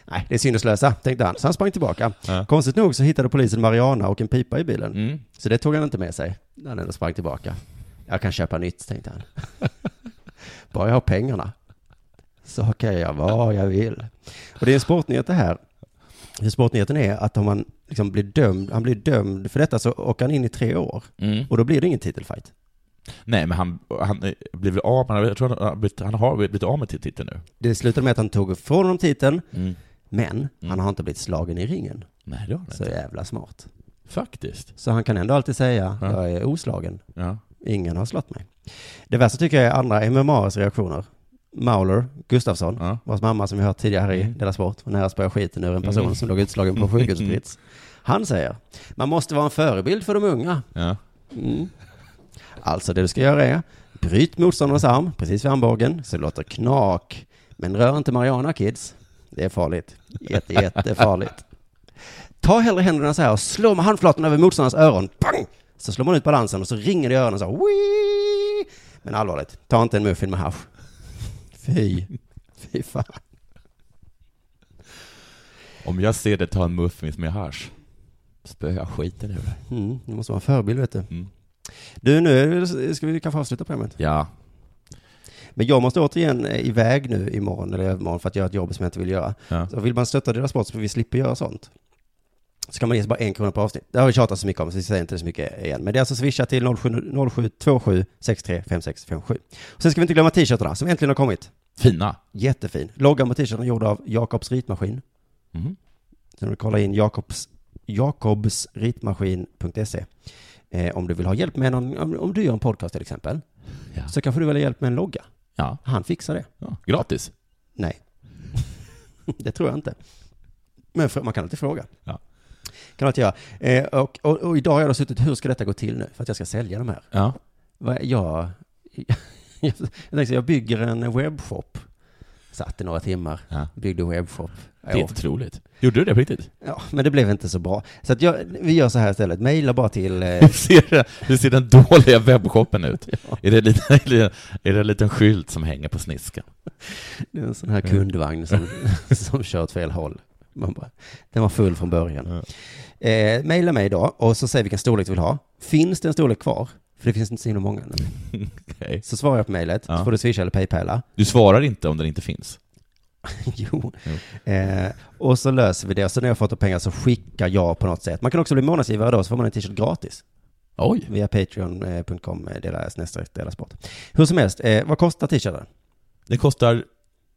Speaker 3: Nej, det är synd att slösa, tänkte han. Så han sprang tillbaka. Konstigt nog så hittade polisen Mariana och en pipa i bilen. Så det tog han inte med sig när han ändå sprang tillbaka. Jag kan köpa nytt, tänkte han. Bara jag har pengarna så kan jag göra vad jag vill. Och det är en sportnyhet det här. Den Sportnyheten är att om man liksom blir dömd, han blir dömd för detta så åker han in i tre år.
Speaker 4: Mm.
Speaker 3: Och då blir det ingen titelfight.
Speaker 4: Nej, men han, han eh, blev väl av, han, jag tror han, har blivit- han har blivit av med till titeln nu.
Speaker 3: Det slutade med att han tog ifrån honom titeln,
Speaker 4: Mm.
Speaker 3: men han har inte blivit slagen i ringen.
Speaker 4: Nej, det har han
Speaker 3: Så jävla smart.
Speaker 4: Faktiskt.
Speaker 3: Så han kan ändå alltid säga,
Speaker 4: Ja.
Speaker 3: jag är oslagen.
Speaker 4: Ja.
Speaker 3: Ingen har slått mig. Det värsta tycker jag är andra MMAs reaktioner. Mauler Gustafsson, vars mamma som vi hört tidigare här i Della Sport, hon nära spöade skiten ur en person
Speaker 4: Mm.
Speaker 3: som låg utslagen på sjukhusbrits. Han säger, man måste vara en förebild för de unga.
Speaker 4: Ja.
Speaker 3: Mm. Alltså det du ska göra är, bryt motståndarens arm precis vid armbågen så det låter knak. Men rör inte Mariana kids. Det är farligt. Jätte, jättefarligt. Ta hellre händerna så här och slå med handflatan över motståndarens öron. Pang! Så slår man ut balansen och så ringer det i öronen så här. Wii! Men allvarligt, ta inte en muffin med hasch. Fy. Fy fan.
Speaker 4: Om jag ser dig ta en muffins med hasch, spöar jag skiten ur dig.
Speaker 3: Mm, du måste vara en förebild vet du. Du, nu är det- ska vi kanske avsluta programmet.
Speaker 4: Ja.
Speaker 3: Men jag måste återigen eh, iväg nu imorgon eller övermorgon för att göra ett jobb som jag inte vill göra.
Speaker 4: Ja.
Speaker 3: Så vill man stötta deras sport så vi slipper göra sånt. Så kan man ge sig bara en krona per avsnitt. Det har vi tjatat så mycket om så vi säger inte det så mycket igen. Men det är alltså swisha till 07- 0727 635657. Och sen ska vi inte glömma t-shirtarna som äntligen har kommit.
Speaker 4: Fina.
Speaker 3: Jättefin. Loggan på t-shirten är gjord av Jakobs ritmaskin.
Speaker 4: Mhm.
Speaker 3: Så när du kollar in Jakobs, jakobsritmaskin.se eh, om du vill ha hjälp med någon, om, om du gör en podcast till exempel, så kanske du vill ha hjälp med en logga.
Speaker 4: Ja.
Speaker 3: Han fixar det.
Speaker 4: Gratis.
Speaker 3: Nej. det tror jag inte. Men fr- man kan alltid fråga.
Speaker 4: Ja.
Speaker 3: Kan alltid göra. Eh, och, och, och idag har jag då suttit, hur ska detta gå till nu? För att jag ska sälja de här.
Speaker 4: Ja.
Speaker 3: Vad- Jag, jag, tänkte, jag bygger en webbshop. Satt i några timmar, byggde webbshop.
Speaker 4: Det är inte troligt. Gjorde du det på riktigt?
Speaker 3: Ja, men det blev inte så bra. Så att jag, vi gör så här istället, mejla bara till... Eh,
Speaker 4: Ser, hur ser den dåliga webbshoppen ut? Är, det en liten, är det en liten skylt som hänger på sniskan?
Speaker 3: Det är en sån här kundvagn som, som kör åt fel håll. Man bara, den var full från början. Eh, maila mig idag och så säg vilken storlek du vill ha. Finns det en storlek kvar? För det finns inte så himla många. nu.
Speaker 4: Okej.
Speaker 3: Så svarar jag på mejlet,
Speaker 4: Ja.
Speaker 3: så får du swisha eller paypala.
Speaker 4: Du svarar inte om den inte finns.
Speaker 3: jo. Eh, och så löser vi det. Och så när jag har fått pengar så skickar jag på något sätt. Man kan också bli månadsgivare då, så får man en t-shirt gratis.
Speaker 4: Oj.
Speaker 3: Via patreon.com, eh, deras nästa deras sport. Hur som helst, eh, vad kostar t-shirten?
Speaker 4: Det kostar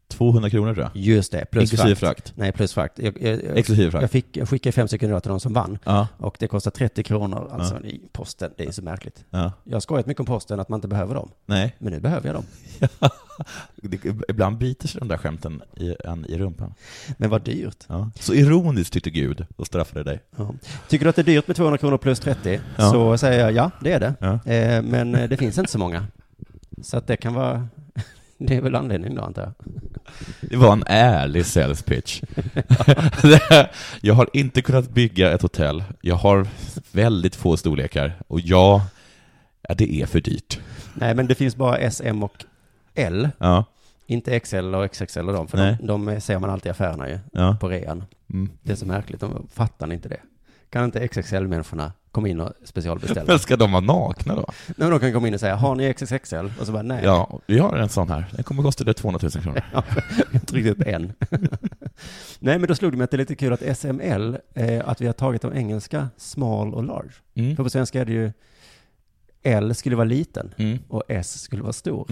Speaker 4: 200 kronor tror jag.
Speaker 3: Just det, plus
Speaker 4: Inklusive
Speaker 3: frakt.
Speaker 4: frakt.
Speaker 3: Nej, plus frakt. Jag, jag, jag,
Speaker 4: Exklusive frakt.
Speaker 3: Jag, fick, jag skickade fem stycken idag till de som vann.
Speaker 4: Ja.
Speaker 3: Och det kostar 30 kronor alltså
Speaker 4: Ja.
Speaker 3: i posten. Det är så märkligt.
Speaker 4: Ja.
Speaker 3: Jag har skojat mycket om posten, att man inte behöver dem.
Speaker 4: Nej.
Speaker 3: Men nu behöver jag dem.
Speaker 4: Det, ibland biter sig de där skämten i, en, i rumpan.
Speaker 3: Men vad dyrt.
Speaker 4: Ja. Så ironiskt tyckte Gud och straffade dig.
Speaker 3: Ja. Tycker du att det är dyrt med 200 kronor plus 30
Speaker 4: Ja.
Speaker 3: så säger jag ja, det är det.
Speaker 4: Ja.
Speaker 3: Eh, men eh, det finns inte så många. Så att det kan vara... Det är väl anledningen då, antar jag.
Speaker 4: Det var en ärlig sales pitch. jag har inte kunnat bygga ett hotell. Jag har väldigt få storlekar. Och ja, ja, det är för dyrt.
Speaker 3: Nej, men det finns bara S, M och L.
Speaker 4: Ja.
Speaker 3: Inte XL och XXL och dem, för
Speaker 4: Nej.
Speaker 3: de, de ser man alltid i affärerna ju,
Speaker 4: Ja.
Speaker 3: på rean.
Speaker 4: Mm.
Speaker 3: Det är så märkligt, de fattar inte det. Kan inte XXL-människorna komma in och specialbeställa?
Speaker 4: Men ska de vara nakna då?
Speaker 3: Nej, men de kan komma in och säga, har ni XXXL? Och så bara, nej.
Speaker 4: Ja, vi har en sån här. Den kommer kosta dig 200 000 kronor.
Speaker 3: Ja, jag tryckte upp en. Nej, men då slog det mig att det är lite kul att SML, eh, att vi har tagit de engelska small och large.
Speaker 4: Mm.
Speaker 3: För på svenska är det ju L skulle vara liten
Speaker 4: Mm.
Speaker 3: och S skulle vara stor.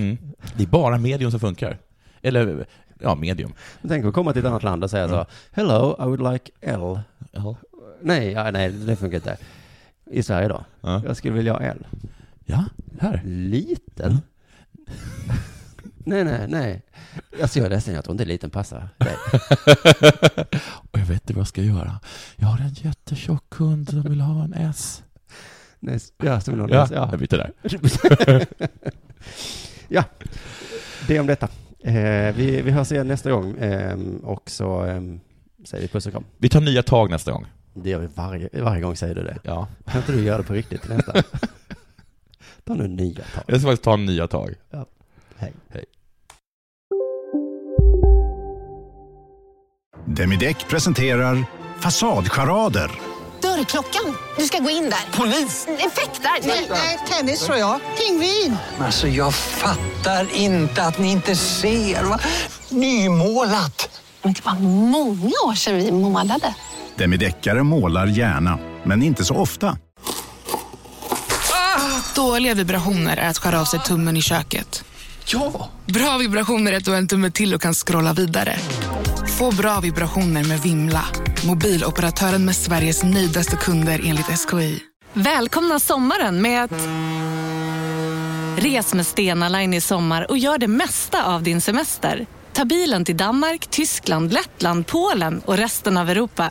Speaker 4: Det är bara medium som funkar. Eller, ja, medium.
Speaker 3: Tänk att komma till ett annat land och säga
Speaker 4: Mm.
Speaker 3: så, hello, I would like L.
Speaker 4: L.
Speaker 3: Nej, ja, nej, det funkar inte. I Sverige då? Jag skulle vilja ha L.
Speaker 4: Ja, här.
Speaker 3: Liten?
Speaker 4: Mm.
Speaker 3: nej, nej, nej. Alltså jag är ledsen, jag tror inte liten passar dig.
Speaker 4: Och jag vet inte vad jag ska göra. Jag har en jättetjock kund som vill ha en S.
Speaker 3: Nej, ja, som vill ha en
Speaker 4: ja,
Speaker 3: S, ja.
Speaker 4: Jag byter där.
Speaker 3: ja, det om detta. Eh, vi, vi hörs igen nästa gång eh, och så eh, säger vi puss och kram.
Speaker 4: Vi tar nya tag nästa gång.
Speaker 3: Det gör vi varje, varje gång säger du det.
Speaker 4: Ja.
Speaker 3: Kan inte du göra det på riktigt till nästa? Ta nu nya tag.
Speaker 4: Jag ska faktiskt ta nya tag.
Speaker 3: Ja. Hej.
Speaker 4: Hej.
Speaker 7: Demideck presenterar Fasadcharader.
Speaker 12: Dörrklockan. Du ska gå in där. Polis? Effektar? Nej, nej, tennis tror jag. Pingvin.
Speaker 13: Alltså jag fattar inte att ni inte ser. Va? Nymålat.
Speaker 2: Men det var många år sedan vi målade.
Speaker 7: Demideckare målar gärna, men inte så ofta.
Speaker 14: Dåliga vibrationer är att skära av sig tummen i köket. Ja! Bra vibrationer är att du har en tumme till och kan scrolla vidare. Få bra vibrationer med Vimla. Mobiloperatören med Sveriges nöjdaste kunder enligt SKI.
Speaker 15: Välkomna sommaren med att... Res med Stena Line i sommar och gör det mesta av din semester. Ta bilen till Danmark, Tyskland, Lettland, Polen och resten av Europa.